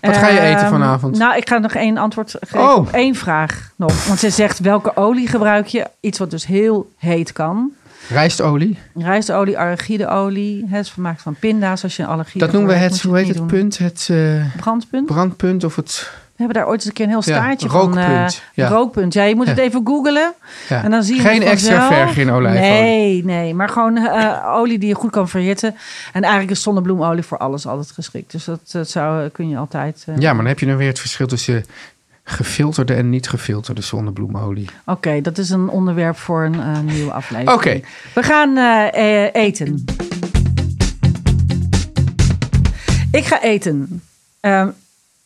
[SPEAKER 2] wat ga je
[SPEAKER 3] Ehm,
[SPEAKER 2] eten vanavond?
[SPEAKER 3] Nou, ik ga nog één antwoord geven
[SPEAKER 2] Oh.
[SPEAKER 3] op één vraag nog. Want ze zegt, welke olie gebruik je? Iets wat dus heel heet kan.
[SPEAKER 2] Rijstolie?
[SPEAKER 3] Rijstolie, arachideolie. Het is gemaakt van pinda's als je een allergie
[SPEAKER 2] dat noemen we
[SPEAKER 3] hebt,
[SPEAKER 2] het,
[SPEAKER 3] moet
[SPEAKER 2] hoe
[SPEAKER 3] je
[SPEAKER 2] heet het
[SPEAKER 3] niet doen.
[SPEAKER 2] punt? Het eh,
[SPEAKER 3] Brandpunt.
[SPEAKER 2] brandpunt of het...
[SPEAKER 3] We hebben daar ooit eens een keer een heel
[SPEAKER 2] Ja,
[SPEAKER 3] staartje van. eh,
[SPEAKER 2] rookpunt. Ja.
[SPEAKER 3] Rookpunt. Ja, je moet het
[SPEAKER 2] Ja.
[SPEAKER 3] even googelen.
[SPEAKER 2] Ja.
[SPEAKER 3] En dan zie je
[SPEAKER 2] geen
[SPEAKER 3] het
[SPEAKER 2] extra
[SPEAKER 3] vanzelf.
[SPEAKER 2] vergin olijfolie.
[SPEAKER 3] Nee, nee. Maar gewoon eh, olie die je goed kan verhitten. En eigenlijk is zonnebloemolie voor alles altijd geschikt. Dus dat, dat zou, kun je altijd... eh,
[SPEAKER 2] Ja, maar dan heb je dan weer het verschil tussen gefilterde en niet gefilterde zonnebloemolie.
[SPEAKER 3] Oké, dat is een onderwerp voor een eh, nieuwe aflevering.
[SPEAKER 2] Oké,
[SPEAKER 3] We gaan eh, eh, eten. Ik ga eten. Ehm,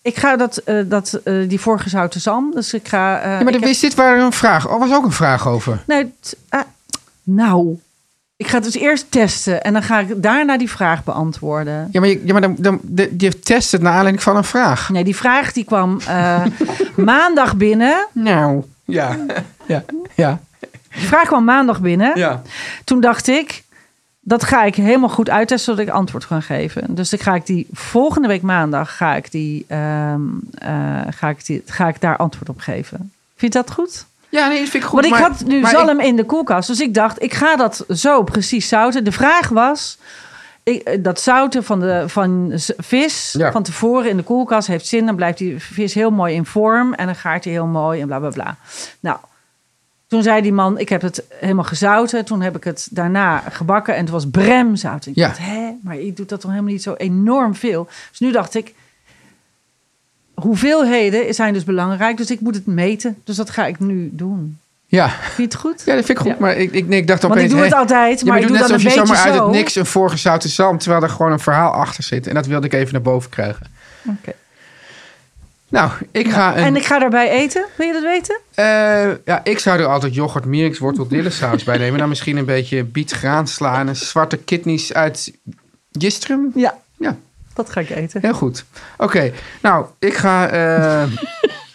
[SPEAKER 3] ik ga dat, eh, dat, eh, die voorgezouten zalm. Dus ik ga. eh,
[SPEAKER 2] ja, maar
[SPEAKER 3] ik
[SPEAKER 2] dan
[SPEAKER 3] heb-
[SPEAKER 2] wist dit waar een vraag. Oh, was ook een vraag over.
[SPEAKER 3] Nee, t- ah, nou, ik ga het dus eerst testen en dan ga ik daarna die vraag beantwoorden.
[SPEAKER 2] Ja, maar, je, ja, maar dan, dan, de- je test het naar aanleiding van een vraag.
[SPEAKER 3] Nee, die vraag die kwam eh, maandag binnen.
[SPEAKER 2] Nou. Ja. Ja. Ja.
[SPEAKER 3] Die vraag kwam maandag binnen.
[SPEAKER 2] Ja.
[SPEAKER 3] Toen dacht ik, dat ga ik helemaal goed uittesten zodat ik antwoord kan geven. Dus dan ga ik die volgende week maandag ga ik die, ehm, eh, ga ik die, ga ik daar antwoord op geven. Vind je dat goed?
[SPEAKER 2] Ja, nee, dat vind ik goed.
[SPEAKER 3] Want ik
[SPEAKER 2] maar-
[SPEAKER 3] had nu
[SPEAKER 2] maar
[SPEAKER 3] zalm in de koelkast. Dus ik dacht, ik ga dat zo precies zouten. De vraag was, ik, eh, dat zouten van, de, van z- vis
[SPEAKER 2] Ja.
[SPEAKER 3] van tevoren in de koelkast heeft zin. Dan blijft die vis heel mooi in vorm en dan gaart hij heel mooi en bla bla bla. Nou, toen zei die man, ik heb het helemaal gezouten. Toen heb ik het daarna gebakken en het was bremzout. Ik
[SPEAKER 2] Ja.
[SPEAKER 3] dacht, hè, maar je doet dat toch helemaal niet zo enorm veel. Dus nu dacht ik, hoeveelheden zijn dus belangrijk. Dus ik moet het meten. Dus dat ga ik nu doen.
[SPEAKER 2] Ja.
[SPEAKER 3] Vind je het goed?
[SPEAKER 2] ja, dat vind ik goed.
[SPEAKER 3] Ja.
[SPEAKER 2] Maar ik, ik, nee, ik dacht
[SPEAKER 3] Want
[SPEAKER 2] opeens...
[SPEAKER 3] ik doe
[SPEAKER 2] hè,
[SPEAKER 3] het altijd,
[SPEAKER 2] ja,
[SPEAKER 3] maar
[SPEAKER 2] je
[SPEAKER 3] ik
[SPEAKER 2] doet
[SPEAKER 3] doe
[SPEAKER 2] net
[SPEAKER 3] dan een
[SPEAKER 2] alsof je
[SPEAKER 3] beetje zo.
[SPEAKER 2] zomaar uit het niks een voorgezouten zalm... terwijl er gewoon een verhaal achter zit. En dat wilde ik even naar boven krijgen.
[SPEAKER 3] Oké.
[SPEAKER 2] Nou, ik ga een...
[SPEAKER 3] En ik ga daarbij eten. Wil je dat weten?
[SPEAKER 2] Eh, ja, ik zou er altijd yoghurt, mirix, wortel, dillensaus bij nemen. Dan misschien een beetje biet, graansla en een zwarte kidneys uit Jistrum.
[SPEAKER 3] Ja,
[SPEAKER 2] Ja,
[SPEAKER 3] dat ga ik eten.
[SPEAKER 2] heel goed. Oké, nou, ik ga... eh,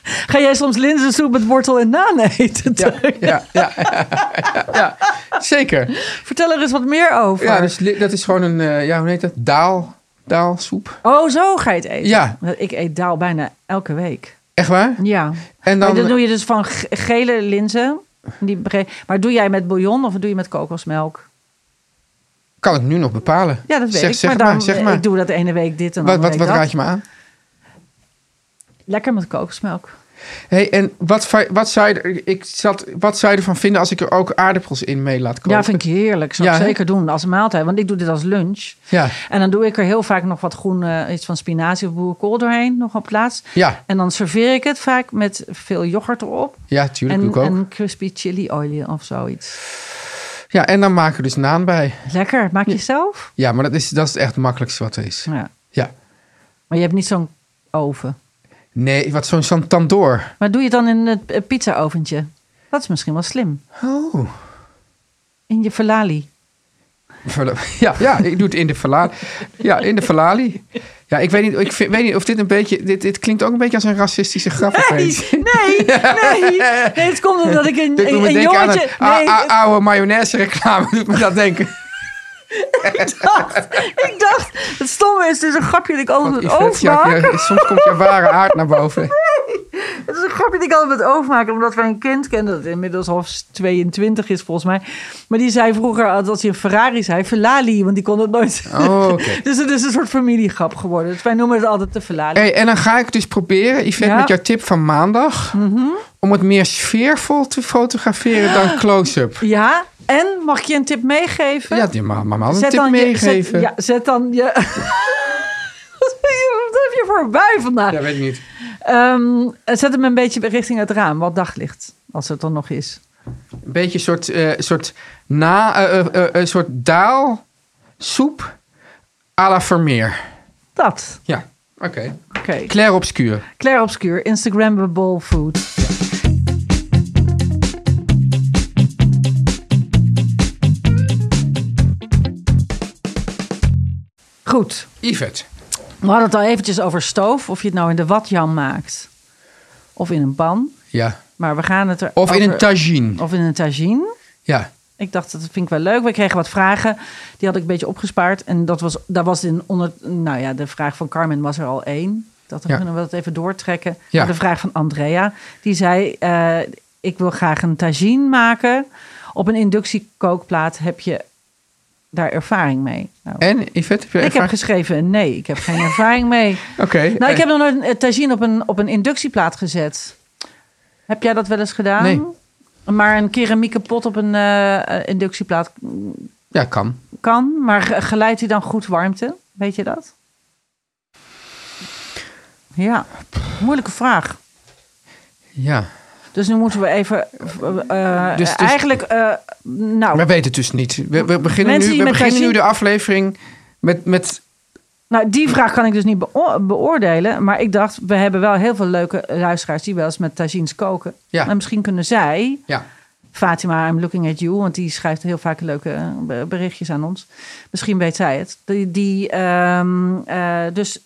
[SPEAKER 3] Ga jij soms linzensoep met wortel en naan eten?
[SPEAKER 2] ja, ja, ja, ja, ja, ja, zeker.
[SPEAKER 3] Vertel er eens wat meer over.
[SPEAKER 2] Ja, dus li- dat is gewoon een, eh, ja, hoe heet dat? Daal, daalsoep.
[SPEAKER 3] Oh, zo ga je het eten?
[SPEAKER 2] Ja.
[SPEAKER 3] Ik eet daal bijna elke week.
[SPEAKER 2] Echt waar?
[SPEAKER 3] Ja.
[SPEAKER 2] En
[SPEAKER 3] Dan,
[SPEAKER 2] dan...
[SPEAKER 3] dat doe je dus van ge- gele linzen. Die bre- maar doe jij met bouillon of doe je met kokosmelk?
[SPEAKER 2] Kan ik nu nog bepalen?
[SPEAKER 3] Ja, dat weet
[SPEAKER 2] zeg,
[SPEAKER 3] ik.
[SPEAKER 2] Zeg maar,
[SPEAKER 3] maar, dan, eh,
[SPEAKER 2] zeg maar.
[SPEAKER 3] ik doe dat de ene week dit en dan
[SPEAKER 2] wat wat,
[SPEAKER 3] week
[SPEAKER 2] wat
[SPEAKER 3] dat.
[SPEAKER 2] raad je me aan?
[SPEAKER 3] Lekker met kokosmelk.
[SPEAKER 2] hey, en wat, va- wat, zou je er, ik zat, wat zou je ervan vinden als ik er ook aardappels in mee laat koken?
[SPEAKER 3] Ja, vind ik heerlijk. Zou
[SPEAKER 2] Ja,
[SPEAKER 3] ik
[SPEAKER 2] hè?
[SPEAKER 3] zeker doen als maaltijd. Want ik doe dit als lunch.
[SPEAKER 2] Ja.
[SPEAKER 3] En dan doe ik er heel vaak nog wat groen, eh, iets van spinazie of boerenkool doorheen, nog op plaats.
[SPEAKER 2] Ja.
[SPEAKER 3] En dan serveer ik het vaak met veel yoghurt erop.
[SPEAKER 2] Ja, tuurlijk,
[SPEAKER 3] en,
[SPEAKER 2] doe ik ook.
[SPEAKER 3] en crispy chili olie of zoiets.
[SPEAKER 2] Ja, en dan maken we dus naan bij.
[SPEAKER 3] Lekker, maak je zelf?
[SPEAKER 2] Ja, maar dat is, dat is echt het makkelijkste wat er is.
[SPEAKER 3] Ja.
[SPEAKER 2] Ja.
[SPEAKER 3] Maar je hebt niet zo'n oven.
[SPEAKER 2] Nee, wat zo'n zo'n tandoor.
[SPEAKER 3] Maar doe je het dan in het eh, pizza-oventje? Dat is misschien wel slim.
[SPEAKER 2] Oh.
[SPEAKER 3] In je falali.
[SPEAKER 2] Verla- Ja, ja, ik doe het in de falali. Ja, in de falali. Ja, ik weet niet, ik vind- weet niet of dit een beetje... Dit, dit klinkt ook een beetje als een racistische grap
[SPEAKER 3] Nee,
[SPEAKER 2] opeens.
[SPEAKER 3] nee, nee. Nee, het komt omdat ik een,
[SPEAKER 2] Dit doet
[SPEAKER 3] een,
[SPEAKER 2] me
[SPEAKER 3] een
[SPEAKER 2] denken aan Ah, een
[SPEAKER 3] jongetje...
[SPEAKER 2] a-
[SPEAKER 3] Nee,
[SPEAKER 2] a- oude mayonaise reclame. Doet me dat denken.
[SPEAKER 3] dacht- ik dacht, het stomme is, het is een grapje dat ik altijd
[SPEAKER 2] Want
[SPEAKER 3] met
[SPEAKER 2] Yvette,
[SPEAKER 3] oog
[SPEAKER 2] ja,
[SPEAKER 3] maak.
[SPEAKER 2] ja, soms komt je ware aard naar boven.
[SPEAKER 3] Het is een grapje dat ik altijd met oog maak, omdat we een kind kennen dat inmiddels half 22 is volgens mij. Maar die zei vroeger altijd als hij een Ferrari zei, Velali, want die kon het nooit.
[SPEAKER 2] Oh, oké.
[SPEAKER 3] Dus het is een soort familiegrap geworden. Dus wij noemen het altijd de Velali.
[SPEAKER 2] Hey, en dan ga ik dus proberen, Yvette,
[SPEAKER 3] Ja. Mhm.
[SPEAKER 2] met jouw tip van maandag... om het meer sfeervol te fotograferen dan close-up.
[SPEAKER 3] Ja, en mag ik je een tip meegeven?
[SPEAKER 2] Ja, die mama had een
[SPEAKER 3] Zet
[SPEAKER 2] tip
[SPEAKER 3] dan je-
[SPEAKER 2] meegeven.
[SPEAKER 3] zet- ja, zet dan je... Wat ben je- Wat heb je voor bui vandaag?
[SPEAKER 2] Ja, weet ik niet.
[SPEAKER 3] Ehm, zet hem een beetje richting het raam, wat daglicht, als het dan nog is.
[SPEAKER 2] Een beetje een soort, eh, soort, na, eh, eh, eh, een soort daalsoep à la Vermeer.
[SPEAKER 3] Dat.
[SPEAKER 2] Ja, oké.
[SPEAKER 3] Oké.
[SPEAKER 2] Clair obscuur.
[SPEAKER 3] Claire Obscure, Instagrammable food. Goed,
[SPEAKER 2] Yvette.
[SPEAKER 3] we hadden het al eventjes over stoof. Of je het nou in de watjan maakt of in een pan.
[SPEAKER 2] Ja.
[SPEAKER 3] Maar we gaan het er
[SPEAKER 2] Of in
[SPEAKER 3] over-
[SPEAKER 2] een tagine.
[SPEAKER 3] Of in een tagine.
[SPEAKER 2] Ja.
[SPEAKER 3] Ik dacht, dat vind ik wel leuk. We kregen wat vragen. Die had ik een beetje opgespaard. En dat was, daar was in onder. Nou ja, de vraag van Carmen was er al één. Dat
[SPEAKER 2] Ja.
[SPEAKER 3] kunnen we dat even doortrekken.
[SPEAKER 2] Ja.
[SPEAKER 3] Maar De vraag van Andrea. Die zei: eh, Ik wil graag een tagine maken. Op een inductiekookplaat heb je daar ervaring mee. Nou,
[SPEAKER 2] En Yvette, heb je
[SPEAKER 3] ik heb
[SPEAKER 2] ervaring?
[SPEAKER 3] geschreven: Nee, ik heb geen ervaring mee.
[SPEAKER 2] Oké.
[SPEAKER 3] Nou, ik
[SPEAKER 2] eh,
[SPEAKER 3] heb nog nooit een eh, tagine op een, op een inductieplaat gezet. Heb jij dat wel eens gedaan?
[SPEAKER 2] Nee.
[SPEAKER 3] Maar een keramieke pot op een eh, eh, inductieplaat
[SPEAKER 2] Ja, kan.
[SPEAKER 3] kan. Maar ge- geleidt hij dan goed warmte? Weet je dat? Ja, moeilijke vraag.
[SPEAKER 2] Ja.
[SPEAKER 3] Dus nu moeten we even. eh, eh,
[SPEAKER 2] Dus- dus-
[SPEAKER 3] eigenlijk, eh, nou,
[SPEAKER 2] We weten het dus niet. We, we beginnen,
[SPEAKER 3] Mensen
[SPEAKER 2] nu,
[SPEAKER 3] die
[SPEAKER 2] we
[SPEAKER 3] met
[SPEAKER 2] beginnen nu
[SPEAKER 3] tagine-
[SPEAKER 2] de aflevering met, met...
[SPEAKER 3] Nou, die vraag kan ik dus niet beo- beoordelen. Maar ik dacht, we hebben wel heel veel leuke luisteraars die wel eens met tagines koken.
[SPEAKER 2] Ja.
[SPEAKER 3] Maar misschien kunnen zij,
[SPEAKER 2] Ja.
[SPEAKER 3] Fatima, I'm looking at you, want die schrijft heel vaak leuke eh, be- berichtjes aan ons. Misschien weet zij het. Die, die ehm, eh, dus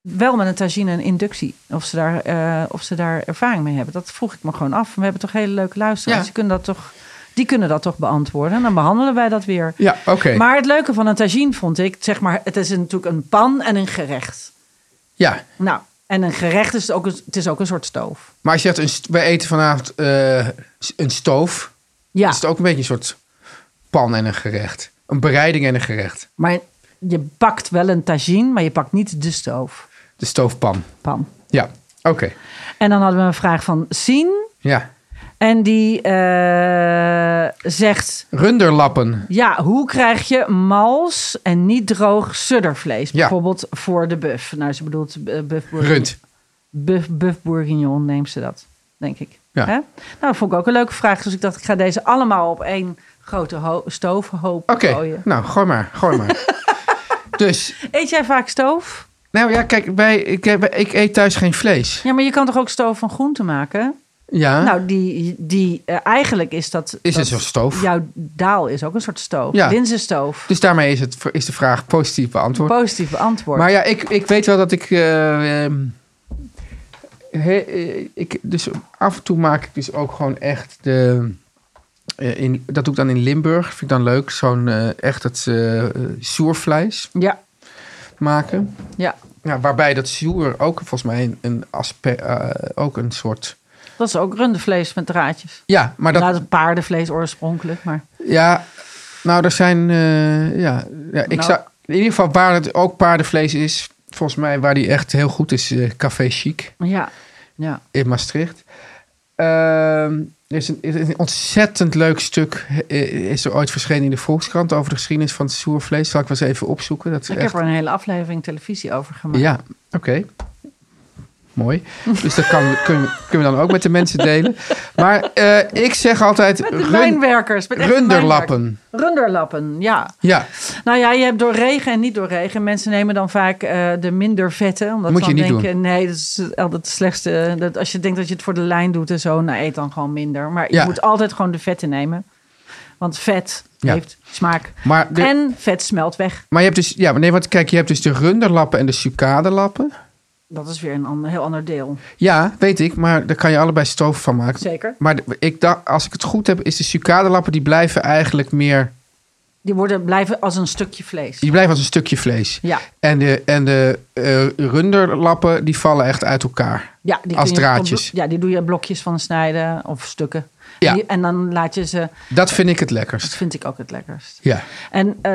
[SPEAKER 3] wel met een tagine een inductie. Of ze, daar, eh, of ze daar ervaring mee hebben. Dat vroeg ik me gewoon af. We hebben toch hele leuke luisteraars.
[SPEAKER 2] Ja.
[SPEAKER 3] Die, kunnen dat toch, die kunnen dat toch beantwoorden. En dan behandelen wij dat weer.
[SPEAKER 2] Ja, oké.
[SPEAKER 3] Maar het leuke van een tagine vond ik, zeg maar, het is natuurlijk een pan en een gerecht.
[SPEAKER 2] Ja.
[SPEAKER 3] Nou, en een gerecht is ook een, het is ook een soort stoof.
[SPEAKER 2] Maar als je zegt, een st- wij eten vanavond eh, s- een stoof...
[SPEAKER 3] Ja,
[SPEAKER 2] is het ook een beetje een soort pan en een gerecht. Een bereiding en een gerecht.
[SPEAKER 3] maar je pakt wel een tagine, maar je pakt niet de stoofpan.
[SPEAKER 2] De stoofpan. Ja, oké.
[SPEAKER 3] En dan hadden we een vraag van Sien.
[SPEAKER 2] Ja.
[SPEAKER 3] En die eh, zegt,
[SPEAKER 2] Runderlappen.
[SPEAKER 3] ja, hoe krijg je mals en niet droog suddervlees?
[SPEAKER 2] Ja.
[SPEAKER 3] Bijvoorbeeld voor de buff. Nou, ze bedoelt eh, buff bourguignon.
[SPEAKER 2] Rund.
[SPEAKER 3] Buff, buff bourguignon neemt ze dat, denk ik.
[SPEAKER 2] Ja.
[SPEAKER 3] Hè? Nou, dat vond ik ook een leuke vraag. Dus ik dacht, ik ga deze allemaal op één grote ho- stoofhoop
[SPEAKER 2] Oké,
[SPEAKER 3] gooien.
[SPEAKER 2] nou, gooi maar, gooi maar. dus,
[SPEAKER 3] Eet jij vaak stoof?
[SPEAKER 2] nou ja, kijk, wij, ik, ik eet thuis geen vlees.
[SPEAKER 3] Ja, maar je kan toch ook stoof van groente maken?
[SPEAKER 2] Ja,
[SPEAKER 3] Nou, die, die, eh, eigenlijk is dat...
[SPEAKER 2] is
[SPEAKER 3] dat
[SPEAKER 2] het zo'n stoof?
[SPEAKER 3] Jouw daal is ook een soort stoof.
[SPEAKER 2] Ja.
[SPEAKER 3] Linzenstoof.
[SPEAKER 2] Dus daarmee is, het, is de vraag positief beantwoord.
[SPEAKER 3] Positief antwoord.
[SPEAKER 2] Maar ja, ik, ik weet wel dat ik... eh, ehm, he- eh, ik dus af en toe maak ik dus ook gewoon echt de... eh, in, dat doe ik dan in Limburg. Vind ik dan leuk. Zo'n eh, echt het eh eh, zoervlees
[SPEAKER 3] Ja,
[SPEAKER 2] maken.
[SPEAKER 3] ja,
[SPEAKER 2] Ja, waarbij dat zuur ook volgens mij een, een aspe- eh, ook een soort...
[SPEAKER 3] dat is ook rundevlees met draadjes.
[SPEAKER 2] Ja, maar dat...
[SPEAKER 3] Nou, dat is paardenvlees oorspronkelijk, maar...
[SPEAKER 2] Ja, nou, er zijn... eh, ja, ja, ik
[SPEAKER 3] Nou.
[SPEAKER 2] zou... In ieder geval waar het ook paardenvlees is... Volgens mij waar die echt heel goed is, eh, Café Chic
[SPEAKER 3] Ja, ja.
[SPEAKER 2] in Maastricht. Ehm, er is een, er is een ontzettend leuk stuk, eh, is er ooit verschenen in de Volkskrant over de geschiedenis van het zoervlees. Zal ik wel eens even opzoeken. Dat is
[SPEAKER 3] Ik
[SPEAKER 2] echt...
[SPEAKER 3] heb er een hele aflevering televisie over gemaakt.
[SPEAKER 2] Ja, oké. Mooi. Dus dat kan, kunnen, we, kunnen we dan ook met de mensen delen. Maar eh, ik zeg altijd
[SPEAKER 3] Met de
[SPEAKER 2] run-
[SPEAKER 3] mijnwerkers. Met echte
[SPEAKER 2] runderlappen.
[SPEAKER 3] mijnwerkers. Runderlappen, ja.
[SPEAKER 2] Ja,
[SPEAKER 3] Nou ja, je hebt door regen en niet door regen. Mensen nemen dan vaak eh, de minder vette. Omdat
[SPEAKER 2] Moet
[SPEAKER 3] ze
[SPEAKER 2] je
[SPEAKER 3] dan
[SPEAKER 2] niet
[SPEAKER 3] denken, nee, dat is altijd het slechtste. Dat als je denkt dat je het voor de lijn doet en zo, nou eet dan gewoon minder. Maar
[SPEAKER 2] Ja.
[SPEAKER 3] je moet altijd gewoon de vette nemen. Want vet
[SPEAKER 2] Ja.
[SPEAKER 3] heeft smaak.
[SPEAKER 2] maar, de-
[SPEAKER 3] En vet smelt weg.
[SPEAKER 2] maar je hebt dus... Ja, maar nee, want kijk, je hebt dus de runderlappen en de sucadelappen.
[SPEAKER 3] Dat is weer een ander, heel ander deel.
[SPEAKER 2] Ja, weet ik, maar daar kan je allebei stoof van maken.
[SPEAKER 3] Zeker.
[SPEAKER 2] Maar de- ik dacht, als ik het goed heb, is de sucadelappen... die blijven eigenlijk meer...
[SPEAKER 3] Die worden, blijven als een stukje vlees.
[SPEAKER 2] die blijven als een stukje vlees.
[SPEAKER 3] Ja,
[SPEAKER 2] En de, en de eh, runderlappen, die vallen echt uit elkaar.
[SPEAKER 3] ja die kun
[SPEAKER 2] Als
[SPEAKER 3] je-
[SPEAKER 2] draadjes.
[SPEAKER 3] Ja, die doe je blokjes van snijden of stukken.
[SPEAKER 2] Ja.
[SPEAKER 3] Die- en dan laat je ze,
[SPEAKER 2] Dat vind ik het
[SPEAKER 3] dat
[SPEAKER 2] lekkerst.
[SPEAKER 3] vind ik ook het lekkerst.
[SPEAKER 2] Ja.
[SPEAKER 3] En eh,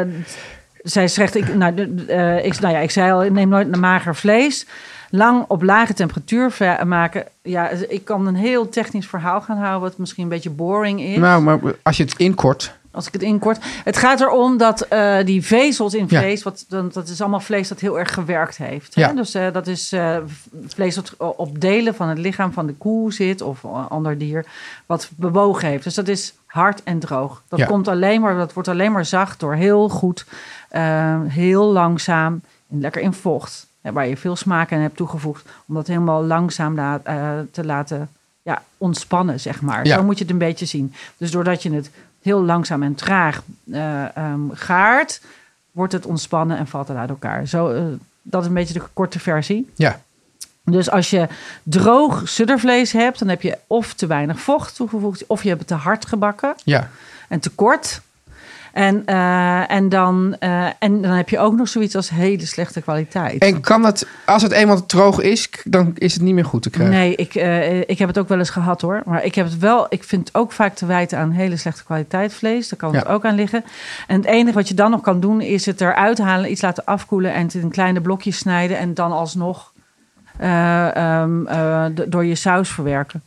[SPEAKER 3] zij zegt, ik, nou, de- de- eh, ik, nou ja, ik zei al, ik neem nooit naar mager vlees. Lang op lage temperatuur va- maken. Ja, ik kan een heel technisch verhaal gaan houden, wat misschien een beetje boring is.
[SPEAKER 2] Nou, maar als je het inkort,
[SPEAKER 3] Als ik het inkort. Het gaat erom dat eh, die vezels in
[SPEAKER 2] Ja.
[SPEAKER 3] vlees, wat, dan- dat is allemaal vlees dat heel erg gewerkt heeft.
[SPEAKER 2] Ja.
[SPEAKER 3] Hè? Dus eh, dat is eh, v- vlees dat op delen van het lichaam van de koe zit of een ander dier wat bewogen heeft. Dus dat is hard en droog. Dat,
[SPEAKER 2] Ja.
[SPEAKER 3] komt alleen maar, dat wordt alleen maar zacht door heel goed, eh, heel langzaam en lekker in vocht. Hè, waar je veel smaak aan hebt toegevoegd. Om dat helemaal langzaam la- eh, te laten ja, ontspannen, zeg maar.
[SPEAKER 2] Ja.
[SPEAKER 3] Zo moet je het een beetje zien. Dus doordat je het heel langzaam en traag eh, ehm, gaart, wordt het ontspannen en valt het uit elkaar. Zo, eh, dat is een beetje de korte versie.
[SPEAKER 2] ja.
[SPEAKER 3] Dus als je droog suddervlees hebt, dan heb je of te weinig vocht toegevoegd, of je hebt het te hard gebakken
[SPEAKER 2] Ja,
[SPEAKER 3] en te kort. En, eh, en, dan, eh, en dan heb je ook nog zoiets als hele slechte kwaliteit.
[SPEAKER 2] En kan dat, als het eenmaal droog is, k- dan is het niet meer goed te krijgen.
[SPEAKER 3] Nee, ik, eh, ik heb het ook wel eens gehad hoor. Maar ik heb het wel, ik vind het ook vaak te wijten aan hele slechte kwaliteit vlees. Daar kan het
[SPEAKER 2] Ja.
[SPEAKER 3] ook aan liggen. En het enige wat je dan nog kan doen, is het eruit halen, iets laten afkoelen en het in kleine blokjes snijden. En dan alsnog eh, ehm, eh, d- door je saus verwerken.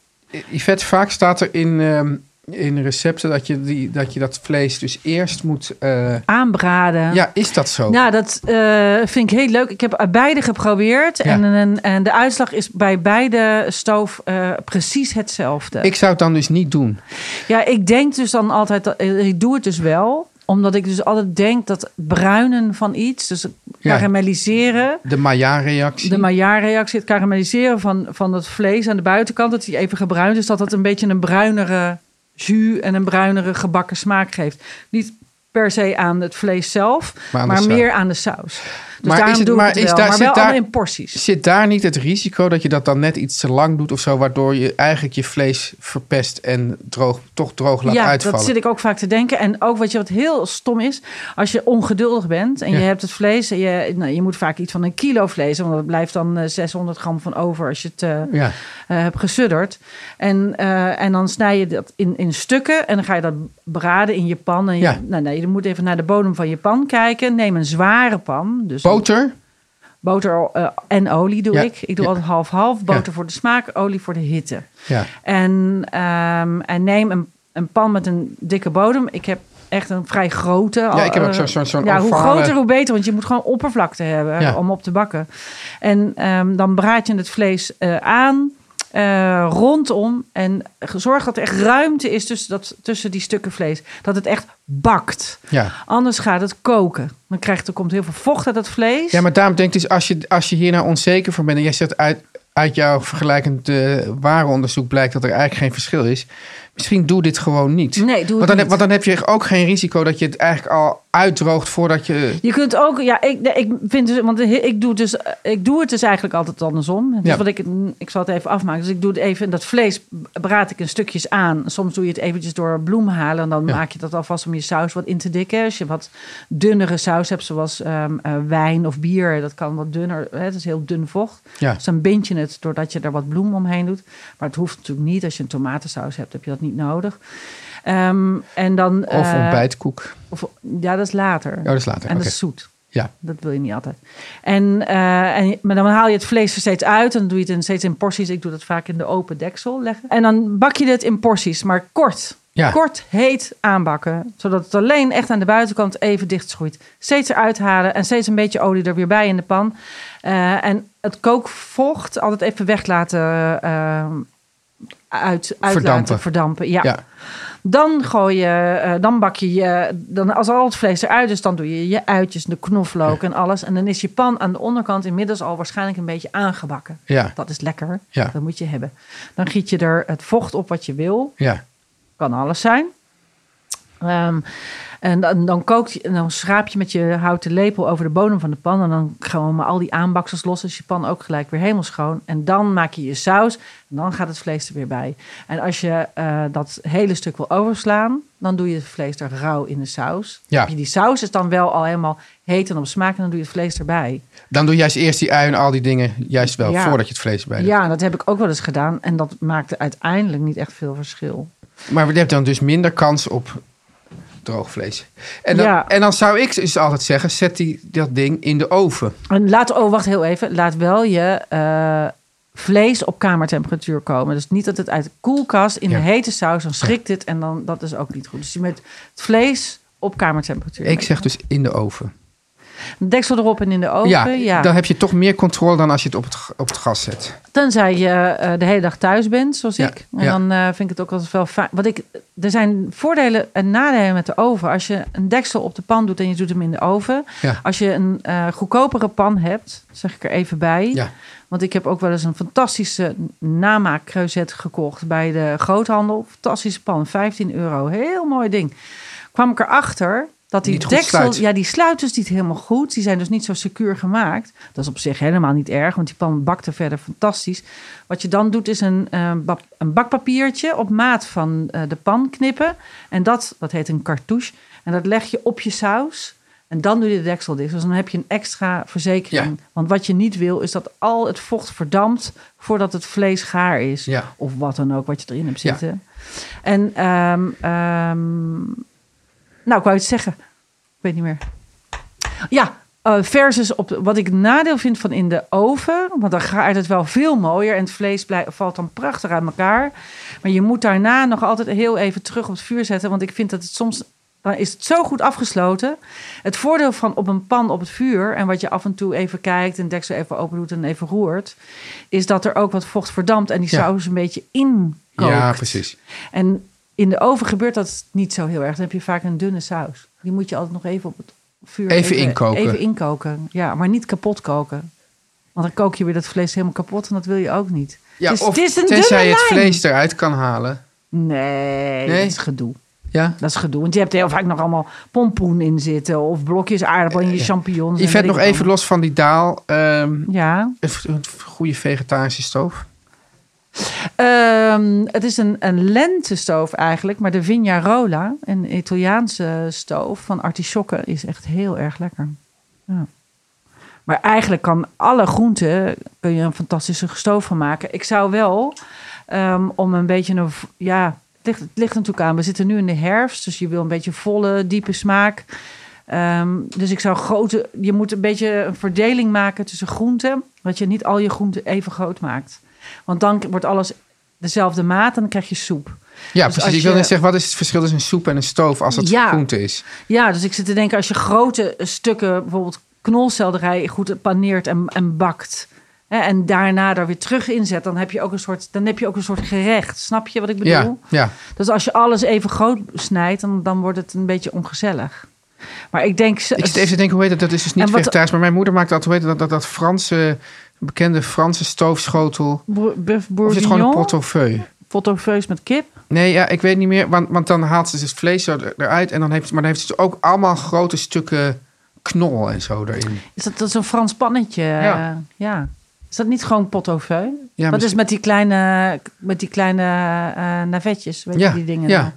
[SPEAKER 2] Yvette, vaak staat er in, ehm, in recepten dat je, die, dat je dat vlees dus eerst moet... eh,
[SPEAKER 3] Aanbraden.
[SPEAKER 2] ja, is dat zo?
[SPEAKER 3] Nou, dat eh, vind ik heel leuk. Ik heb beide geprobeerd. En, en, en de uitslag is bij beide stoof eh, precies hetzelfde.
[SPEAKER 2] Ik zou het dan dus niet doen.
[SPEAKER 3] Ja, ik denk dus dan altijd, dat- ik doe het dus wel, omdat ik dus altijd denk dat bruinen van iets, dus het
[SPEAKER 2] Ja.
[SPEAKER 3] karamelliseren,
[SPEAKER 2] De Maillard-reactie.
[SPEAKER 3] de Maillard-reactie, het karamelliseren van, van het vlees aan de buitenkant, dat die even gebruind is, dat dat een beetje een bruinere jus en een bruinere gebakken smaak geeft. Niet per se aan het vlees zelf,
[SPEAKER 2] Maar
[SPEAKER 3] maar,
[SPEAKER 2] aan de saus.
[SPEAKER 3] meer aan de saus. Dus
[SPEAKER 2] Maar
[SPEAKER 3] daarom
[SPEAKER 2] is het-
[SPEAKER 3] doe
[SPEAKER 2] maar
[SPEAKER 3] ik het
[SPEAKER 2] is
[SPEAKER 3] wel,
[SPEAKER 2] daar-
[SPEAKER 3] maar
[SPEAKER 2] zit
[SPEAKER 3] wel
[SPEAKER 2] daar-
[SPEAKER 3] allemaal in porties.
[SPEAKER 2] Zit daar niet het risico dat je dat dan net iets te lang doet of zo, waardoor je eigenlijk je vlees verpest en droog, toch droog laat
[SPEAKER 3] ja,
[SPEAKER 2] uitvallen?
[SPEAKER 3] dat zit ik ook vaak te denken. En ook wat je wat heel stom is, als je ongeduldig bent en
[SPEAKER 2] Ja.
[SPEAKER 3] je hebt het vlees, en je, nou, je moet vaak iets van een kilo vlees, want er blijft dan eh, 600 gram van over als je het eh,
[SPEAKER 2] Ja,
[SPEAKER 3] eh, hebt gesudderd. En, eh, en dan snij je dat in, in stukken en dan ga je dat braden in je pan. En je,
[SPEAKER 2] Ja.
[SPEAKER 3] nou, nee, je moet even naar de bodem van je pan kijken. Neem een zware pan, dus een
[SPEAKER 2] boter?
[SPEAKER 3] boter eh, en olie doe
[SPEAKER 2] Ja.
[SPEAKER 3] ik. Ik doe
[SPEAKER 2] Ja.
[SPEAKER 3] altijd half-half, boter
[SPEAKER 2] Ja.
[SPEAKER 3] voor de smaak, olie voor de hitte.
[SPEAKER 2] Ja.
[SPEAKER 3] En, ehm, en neem een, een pan met een dikke bodem. Ik heb echt een vrij grote.
[SPEAKER 2] Ja, ik heb ook
[SPEAKER 3] eh,
[SPEAKER 2] zo'n- zo'n- zo'n
[SPEAKER 3] Ja, hoe
[SPEAKER 2] ovale-
[SPEAKER 3] groter, hoe beter. Want je moet gewoon oppervlakte hebben
[SPEAKER 2] Ja.
[SPEAKER 3] om op te bakken. En ehm, dan braad je het vlees eh, aan. eh, rondom en zorg dat er echt ruimte is tussen, dat, tussen die stukken vlees. Dat het echt bakt.
[SPEAKER 2] Ja.
[SPEAKER 3] Anders gaat het koken. Dan krijgt, er komt heel veel vocht uit het vlees.
[SPEAKER 2] Ja, maar daarom denk ik dus, als je, als je hier nou onzeker van bent... en jij zegt uit, uit jouw vergelijkend eh ware onderzoek blijkt dat er eigenlijk geen verschil is... misschien doe dit gewoon niet.
[SPEAKER 3] Nee, doe het
[SPEAKER 2] want dan,
[SPEAKER 3] niet.
[SPEAKER 2] Heb, want dan heb je ook geen risico dat je het eigenlijk al uitdroogt voordat je...
[SPEAKER 3] Je kunt ook, ja, ik, nee, ik vind dus, want ik doe, dus, ik doe het dus eigenlijk altijd andersom. Dus
[SPEAKER 2] Ja.
[SPEAKER 3] wat ik, ik zal het even afmaken. Dus ik doe het even, dat vlees braad ik in stukjes aan. Soms doe je het eventjes door bloem halen. En dan
[SPEAKER 2] Ja.
[SPEAKER 3] maak je dat alvast om je saus wat in te dikken. Als je wat dunnere saus hebt, zoals ehm, eh, wijn of bier, dat kan wat dunner. Hè, het is heel dun vocht.
[SPEAKER 2] Ja.
[SPEAKER 3] Dus dan bind je het doordat je er wat bloem omheen doet. Maar het hoeft natuurlijk niet. Als je een tomatensaus hebt, heb je dat niet nodig. Ehm, en dan,
[SPEAKER 2] Of
[SPEAKER 3] eh,
[SPEAKER 2] ontbijtkoek. Oh,
[SPEAKER 3] Of, ja, dat is later.
[SPEAKER 2] dat is later,
[SPEAKER 3] En dat
[SPEAKER 2] oké.
[SPEAKER 3] is zoet.
[SPEAKER 2] Ja,
[SPEAKER 3] Dat wil je niet altijd. En, eh, en, maar dan haal je het vlees er steeds uit. En dan doe je het in, steeds in porties. Ik doe dat vaak in de open deksel leggen. En dan bak je het in porties, maar kort.
[SPEAKER 2] Ja.
[SPEAKER 3] Kort heet aanbakken. Zodat het alleen echt aan de buitenkant even dicht schroeit. Steeds eruit halen en steeds een beetje olie er weer bij in de pan. Eh, en het kookvocht altijd even weg laten... eh, uit, uit
[SPEAKER 2] Verdampen.
[SPEAKER 3] laten verdampen. Ja.
[SPEAKER 2] ja.
[SPEAKER 3] Dan gooi je, eh, dan bak je je, dan als al het vlees eruit is, dan doe je je uitjes, de knoflook en alles. En dan is je pan aan de onderkant inmiddels al waarschijnlijk een beetje aangebakken.
[SPEAKER 2] Ja.
[SPEAKER 3] Dat is lekker,
[SPEAKER 2] Ja.
[SPEAKER 3] dat moet je hebben. Dan giet je er het vocht op wat je wil,
[SPEAKER 2] ja.
[SPEAKER 3] kan alles zijn. Ehm, en dan, dan kookt je, en dan schraap je met je houten lepel over de bodem van de pan. En dan gewoon maar al die aanbaksels los. Dus je pan ook gelijk weer helemaal schoon. En dan maak je je saus. En dan gaat het vlees er weer bij. En als je eh, dat hele stuk wil overslaan, dan doe je het vlees er rauw in de saus.
[SPEAKER 2] Ja.
[SPEAKER 3] Heb je die saus is dan wel al helemaal heet en op smaak. En dan doe je het vlees erbij.
[SPEAKER 2] Dan doe juist eerst die ui en al die dingen juist wel
[SPEAKER 3] Ja.
[SPEAKER 2] voordat je het vlees bij doet.
[SPEAKER 3] Ja, dat heb ik ook wel eens gedaan. En dat maakte uiteindelijk niet echt veel verschil.
[SPEAKER 2] Maar je hebt dan dus minder kans op droog vlees. En dan,
[SPEAKER 3] Ja.
[SPEAKER 2] en dan zou ik dus altijd zeggen, zet die, dat ding in de oven.
[SPEAKER 3] En laat, oh, wacht heel even. Laat wel je eh, vlees op kamertemperatuur komen. Dus niet dat het uit de koelkast in
[SPEAKER 2] Ja.
[SPEAKER 3] de hete saus, dan schrikt het en dan, dat is ook niet goed. Dus je met het vlees op kamertemperatuur.
[SPEAKER 2] Ik zeg dus in de oven.
[SPEAKER 3] Deksel erop en in de oven. Ja,
[SPEAKER 2] dan heb je toch meer controle dan als je het op het, g- op het gas zet.
[SPEAKER 3] Tenzij je eh, de hele dag thuis bent, zoals
[SPEAKER 2] Ja,
[SPEAKER 3] ik. En
[SPEAKER 2] ja.
[SPEAKER 3] dan eh, vind ik het ook altijd wel fijn. Want ik, er zijn voordelen en nadelen met de oven. Als je een deksel op de pan doet en je doet hem in de oven.
[SPEAKER 2] Ja.
[SPEAKER 3] Als je een eh, goedkopere pan hebt, zeg ik er even bij.
[SPEAKER 2] Ja.
[SPEAKER 3] Want ik heb ook wel eens een fantastische namaakcreuset gekocht bij de groothandel. Fantastische pan, 15 euro. Heel mooi ding. Kwam ik erachter dat die
[SPEAKER 2] Niet goed
[SPEAKER 3] deksel...
[SPEAKER 2] sluit.
[SPEAKER 3] Ja, die sluit dus niet helemaal goed. Die zijn dus niet zo secuur gemaakt. Dat is op zich helemaal niet erg, want die pan bakte verder fantastisch. Wat je dan doet is een, eh, bap- een bakpapiertje op maat van eh, de pan knippen. En dat, dat heet een cartouche. En dat leg je op je saus. En dan doe je de deksel dicht. Dus dan heb je een extra verzekering.
[SPEAKER 2] Ja.
[SPEAKER 3] Want wat je niet wil, is dat al het vocht verdampt voordat het vlees gaar is.
[SPEAKER 2] Ja.
[SPEAKER 3] Of wat dan ook, wat je erin hebt
[SPEAKER 2] Ja.
[SPEAKER 3] zitten. En, ehm, ehm, nou, ik wou iets zeggen. Ik weet niet meer. Ja, eh, versus op de- wat ik nadeel vind van in de oven. Want dan gaat het wel veel mooier en het vlees blij- valt dan prachtig uit elkaar. Maar je moet daarna nog altijd heel even terug op het vuur zetten. Want ik vind dat het soms. Dan is het zo goed afgesloten. Het voordeel van op een pan op het vuur. En wat je af en toe even kijkt. En deksel even open doet en even roert. Is dat er ook wat vocht verdampt. En die
[SPEAKER 2] Ja.
[SPEAKER 3] saus een beetje inkookt.
[SPEAKER 2] Ja, precies.
[SPEAKER 3] En in de oven gebeurt dat niet zo heel erg. Dan heb je vaak een dunne saus. Die moet je altijd nog even op het vuur...
[SPEAKER 2] Even inkoken.
[SPEAKER 3] Even inkoken, ja. Maar niet kapot koken. Want dan kook je weer dat vlees helemaal kapot en dat wil je ook niet.
[SPEAKER 2] Ja,
[SPEAKER 3] het, is,
[SPEAKER 2] of
[SPEAKER 3] het Dus is een dunne
[SPEAKER 2] tenzij je het
[SPEAKER 3] lijn.
[SPEAKER 2] vlees eruit kan halen. Nee?
[SPEAKER 3] Nee, dat is gedoe.
[SPEAKER 2] Ja.
[SPEAKER 3] Dat is gedoe. Want je hebt er heel vaak nog allemaal pompoen in zitten. Of blokjes aardappel in je champignons. en
[SPEAKER 2] Yvette,
[SPEAKER 3] weet
[SPEAKER 2] Eh, nog
[SPEAKER 3] ik
[SPEAKER 2] even
[SPEAKER 3] allemaal.
[SPEAKER 2] los van die daal. ehm,
[SPEAKER 3] Ja.
[SPEAKER 2] een, een goede vegetarische stoof.
[SPEAKER 3] Ehm, het is een, een lentestoof eigenlijk, maar de Vignarola, een Italiaanse stoof van artisjokken, is echt heel erg lekker. Ja. Maar eigenlijk kan alle groenten kun je een fantastische stoof van maken. Ik zou wel ehm, om een beetje een. v- Ja, het ligt, het ligt natuurlijk aan. We zitten nu in de herfst, dus je wil een beetje volle, diepe smaak. Ehm, dus ik zou grote. Je moet een beetje een verdeling maken tussen groenten. Dat je niet al je groenten even groot maakt. Want dan wordt alles dezelfde maat en dan krijg je soep.
[SPEAKER 2] Ja,
[SPEAKER 3] Dus als
[SPEAKER 2] precies. Ik wil
[SPEAKER 3] je-
[SPEAKER 2] net zeggen, wat is het verschil tussen een soep en een stoof als het
[SPEAKER 3] Ja.
[SPEAKER 2] groente is?
[SPEAKER 3] Ja, dus ik zit te denken als je grote stukken, bijvoorbeeld knolselderij, goed paneert en, en bakt. Hè, en daarna daar weer terug inzet, dan heb je ook een soort, dan heb je ook een soort gerecht. Snap je wat ik bedoel?
[SPEAKER 2] Ja, ja.
[SPEAKER 3] Dus als je alles even groot snijdt, dan, dan wordt het een beetje ongezellig. Maar ik denk.
[SPEAKER 2] Ik zit even te denken, hoe heet dat? Dat is dus niet
[SPEAKER 3] En wat-
[SPEAKER 2] vegetarisch. Maar mijn moeder maakt altijd, hoe heet dat? Dat, dat Franse, bekende Franse stoofschotel.
[SPEAKER 3] Bo- buf-
[SPEAKER 2] Of is het gewoon een
[SPEAKER 3] bourguignon,
[SPEAKER 2] portefeuille?
[SPEAKER 3] Portefeuille met kip.
[SPEAKER 2] dus
[SPEAKER 3] Is dat, dat is een Frans pannetje?
[SPEAKER 2] Ja.
[SPEAKER 3] Ja. ja. Is dat niet gewoon portefeuille?
[SPEAKER 2] Ja,
[SPEAKER 3] Wat is
[SPEAKER 2] misschien-
[SPEAKER 3] met die kleine, met die kleine eh, navetjes? Weet
[SPEAKER 2] Ja,
[SPEAKER 3] je die dingen?
[SPEAKER 2] ja.
[SPEAKER 3] nou?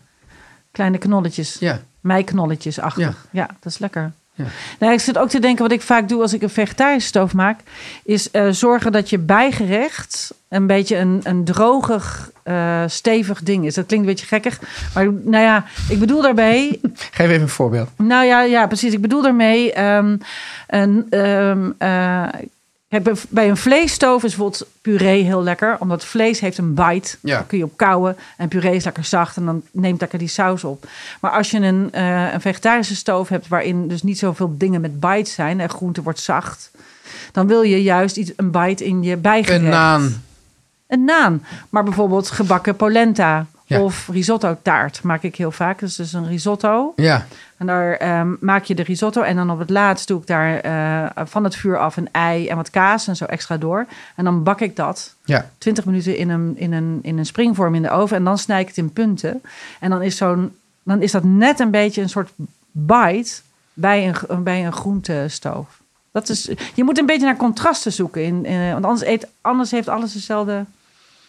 [SPEAKER 3] Kleine knolletjes.
[SPEAKER 2] Ja.
[SPEAKER 3] Meiknolletjes achter.
[SPEAKER 2] Ja.
[SPEAKER 3] Ja. dat is lekker.
[SPEAKER 2] Ja.
[SPEAKER 3] Nou, ik zit ook te denken, wat ik vaak doe als ik een vegetarische stoof maak, is eh, zorgen dat je bijgerecht een beetje een, een drogig, eh, stevig ding is. Dat klinkt een beetje gekkig, maar nou ja, ik bedoel daarbij,
[SPEAKER 2] Geef even een voorbeeld.
[SPEAKER 3] nou ja, ja precies. Ik bedoel daarmee. ehm, een, ehm, eh, kijk, bij- bij een vleesstoof is bijvoorbeeld puree heel lekker. Omdat vlees heeft een bite.
[SPEAKER 2] Ja.
[SPEAKER 3] Daar kun je op kouwen. En puree is lekker zacht. En dan neemt lekker die saus op. Maar als je een, eh, een vegetarische stoof hebt... waarin dus niet zoveel dingen met bites zijn... en groente wordt zacht... dan wil je juist iets, een bite in je bijgerecht
[SPEAKER 2] Een naan.
[SPEAKER 3] een naam. Maar bijvoorbeeld gebakken polenta
[SPEAKER 2] Ja.
[SPEAKER 3] of risotto taart maak ik heel vaak. Dus dus een risotto.
[SPEAKER 2] Ja.
[SPEAKER 3] En daar ehm, maak je de risotto en dan op het laatst doe ik daar eh, van het vuur af een ei en wat kaas en zo extra door. En dan bak ik dat
[SPEAKER 2] Ja.
[SPEAKER 3] 20 minuten in een, in, een, in een springvorm in de oven en dan snij ik het in punten. En dan is, zo'n, dan is dat net een beetje een soort bite bij een, gro- bij een groentestoof. Dat is, je moet een beetje naar contrasten zoeken. In, in- want anders, eet, anders heeft alles dezelfde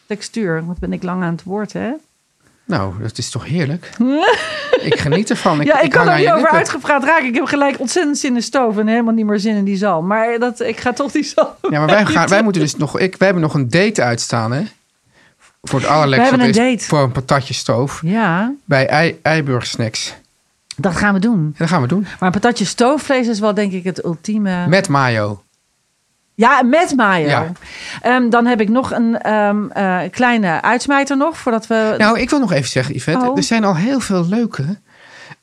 [SPEAKER 3] textuur. Want ben ik lang aan het woord, hè?
[SPEAKER 2] Nou, dat is toch heerlijk? ik geniet ervan. Ik,
[SPEAKER 3] ja, ik, kan
[SPEAKER 2] hang
[SPEAKER 3] er
[SPEAKER 2] aan
[SPEAKER 3] niet
[SPEAKER 2] je
[SPEAKER 3] over
[SPEAKER 2] lippen.
[SPEAKER 3] uitgepraat raken. Ik heb gelijk ontzettend zin in stoof en helemaal niet meer zin in die zalm. Maar dat, ik ga toch die zalm.
[SPEAKER 2] Ja, maar wij, gaan, wij moeten dus nog... Ik, wij hebben nog een date uitstaan, hè? Voor het allerlekkerste.
[SPEAKER 3] We hebben
[SPEAKER 2] wat
[SPEAKER 3] een
[SPEAKER 2] is
[SPEAKER 3] date.
[SPEAKER 2] Voor een patatje stoof.
[SPEAKER 3] Ja,
[SPEAKER 2] Bij Ei- Eiburg Snacks.
[SPEAKER 3] Dat gaan we doen.
[SPEAKER 2] dat gaan we doen.
[SPEAKER 3] Maar patatje stoofvlees is wel denk ik het ultieme.
[SPEAKER 2] Met mayo.
[SPEAKER 3] Ja, met mayo.
[SPEAKER 2] Ja.
[SPEAKER 3] Ehm, dan heb ik nog een ehm, eh, kleine uitsmijter nog, voordat we...
[SPEAKER 2] Nou, ik wil nog even zeggen, Yvette.
[SPEAKER 3] Oh.
[SPEAKER 2] Er zijn al heel veel leuke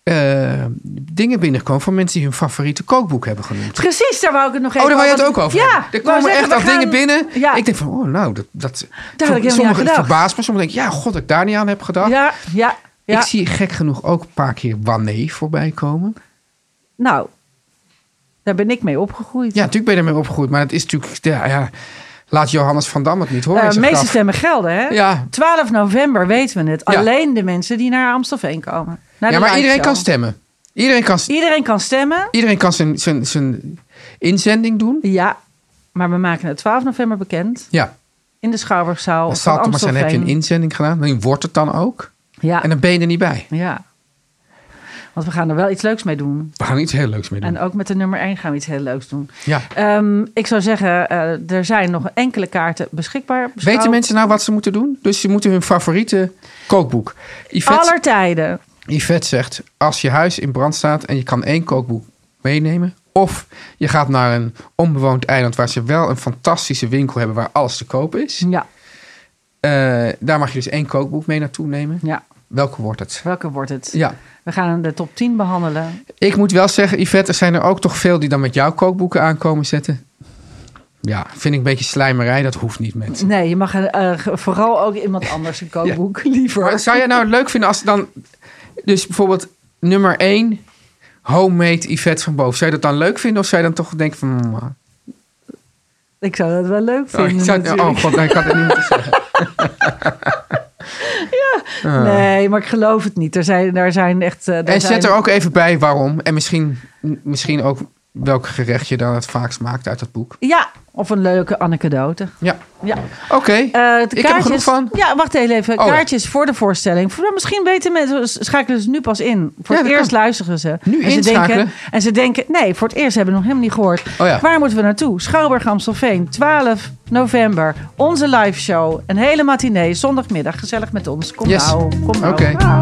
[SPEAKER 2] eh, dingen binnengekomen van mensen die hun favoriete kookboek hebben genoemd.
[SPEAKER 3] Precies, daar wou ik het nog even
[SPEAKER 2] Oh, daar wou je het
[SPEAKER 3] want-
[SPEAKER 2] ook over
[SPEAKER 3] Ja.
[SPEAKER 2] hebben. Er
[SPEAKER 3] ik wou
[SPEAKER 2] komen
[SPEAKER 3] zeggen,
[SPEAKER 2] echt
[SPEAKER 3] we
[SPEAKER 2] al
[SPEAKER 3] gaan-
[SPEAKER 2] dingen binnen.
[SPEAKER 3] Ja.
[SPEAKER 2] Ik denk van, oh, nou, dat... dat
[SPEAKER 3] helemaal niet aan
[SPEAKER 2] sommige
[SPEAKER 3] gedacht.
[SPEAKER 2] verbaast me, sommige denk ik, ja, god, dat ik daar niet aan heb gedacht.
[SPEAKER 3] Ja, ja, ja.
[SPEAKER 2] Ik zie gek genoeg ook een paar keer Wanné voorbij komen.
[SPEAKER 3] Nou, daar ben ik mee opgegroeid.
[SPEAKER 2] Ja, natuurlijk ben je ermee opgegroeid, maar het is natuurlijk... Ja, ja, laat Johannes van Dam het niet horen.
[SPEAKER 3] Eh,
[SPEAKER 2] in zijn
[SPEAKER 3] meeste
[SPEAKER 2] graf.
[SPEAKER 3] stemmen gelden, hè?
[SPEAKER 2] Ja.
[SPEAKER 3] 12 november weten we het.
[SPEAKER 2] Ja.
[SPEAKER 3] Alleen de mensen die naar Amstelveen komen. Naar
[SPEAKER 2] ja,
[SPEAKER 3] de
[SPEAKER 2] maar iedereen
[SPEAKER 3] liveshow.
[SPEAKER 2] kan stemmen. Iedereen kan,
[SPEAKER 3] Iedereen kan stemmen.
[SPEAKER 2] iedereen kan zijn, zijn, zijn inzending doen.
[SPEAKER 3] Ja, maar we maken het 12 november bekend.
[SPEAKER 2] Ja,
[SPEAKER 3] In de Schouwburgzaal
[SPEAKER 2] dat
[SPEAKER 3] Oh, van
[SPEAKER 2] zal toch maar
[SPEAKER 3] Amstelveen.
[SPEAKER 2] zijn. Heb je een inzending gedaan? Dan wordt het dan ook.
[SPEAKER 3] ja.
[SPEAKER 2] En dan ben je er niet bij.
[SPEAKER 3] ja, want we gaan er wel iets leuks mee doen.
[SPEAKER 2] We gaan iets heel leuks mee doen.
[SPEAKER 3] En ook met de nummer 1 gaan we iets heel leuks doen.
[SPEAKER 2] Ja.
[SPEAKER 3] Ehm, ik zou zeggen, eh, er zijn nog enkele kaarten beschikbaar. Beschouw-
[SPEAKER 2] Weten mensen nou wat ze moeten doen? Dus ze moeten hun favoriete kookboek. Yvette,
[SPEAKER 3] Aller tijden.
[SPEAKER 2] Yvette zegt, als je huis in brand staat en je kan één kookboek meenemen... of je gaat naar een onbewoond eiland waar ze wel een fantastische winkel hebben... waar alles te koop is.
[SPEAKER 3] Ja,
[SPEAKER 2] Eh, daar mag je dus één kookboek mee naartoe nemen.
[SPEAKER 3] ja.
[SPEAKER 2] Welke wordt het?
[SPEAKER 3] Welke wordt het?
[SPEAKER 2] Ja.
[SPEAKER 3] We gaan de top 10 behandelen.
[SPEAKER 2] Ik moet wel zeggen, Yvette, er zijn er ook toch veel die dan met jouw kookboeken aankomen zetten. Ja, vind ik een beetje slijmerij. Dat hoeft niet, mensen.
[SPEAKER 3] Nee, je mag eh, eh, vooral ook iemand anders een kookboek liever.
[SPEAKER 2] Maar zou jij nou het leuk vinden als dan... Dus bijvoorbeeld nummer 1, homemade Yvette van Boven. Zou je dat dan leuk vinden? Of zou je dan toch denken van... mm, ah.
[SPEAKER 3] Ik zou dat wel leuk
[SPEAKER 2] Oh,
[SPEAKER 3] vinden.
[SPEAKER 2] ik zou-
[SPEAKER 3] natuurlijk.
[SPEAKER 2] oh god, nee, ik had het niet moeten zeggen.
[SPEAKER 3] Nee, maar ik geloof het niet. Er zijn, er zijn echt. eh,
[SPEAKER 2] eh. En
[SPEAKER 3] zijn...
[SPEAKER 2] zet er ook even bij waarom. En misschien, misschien ook welk gerecht je dan het vaakst maakt uit dat boek.
[SPEAKER 3] Ja, of een leuke anekdote.
[SPEAKER 2] Ja,
[SPEAKER 3] Ja.
[SPEAKER 2] oké.
[SPEAKER 3] Eh, de
[SPEAKER 2] ik heb er genoeg van.
[SPEAKER 3] Ja, wacht heel even.
[SPEAKER 2] Oh, ja.
[SPEAKER 3] kaartjes voor de voorstelling. Voor- nou, Misschien weten mensen, s- schakelen ze nu pas in. Voor
[SPEAKER 2] Ja,
[SPEAKER 3] het
[SPEAKER 2] dat
[SPEAKER 3] eerst
[SPEAKER 2] kan.
[SPEAKER 3] luisteren ze.
[SPEAKER 2] Nu
[SPEAKER 3] en ze denken,
[SPEAKER 2] inschakelen.
[SPEAKER 3] En ze denken, nee, voor het eerst hebben we nog helemaal niet gehoord.
[SPEAKER 2] Oh ja.
[SPEAKER 3] Waar moeten we naartoe? Schouwburg Amstelveen, 12 november. Onze live show. Een hele matinee, zondagmiddag. Gezellig met ons. Kom
[SPEAKER 2] Yes.
[SPEAKER 3] nou. Kom nou.
[SPEAKER 2] Oké.
[SPEAKER 3] Ah.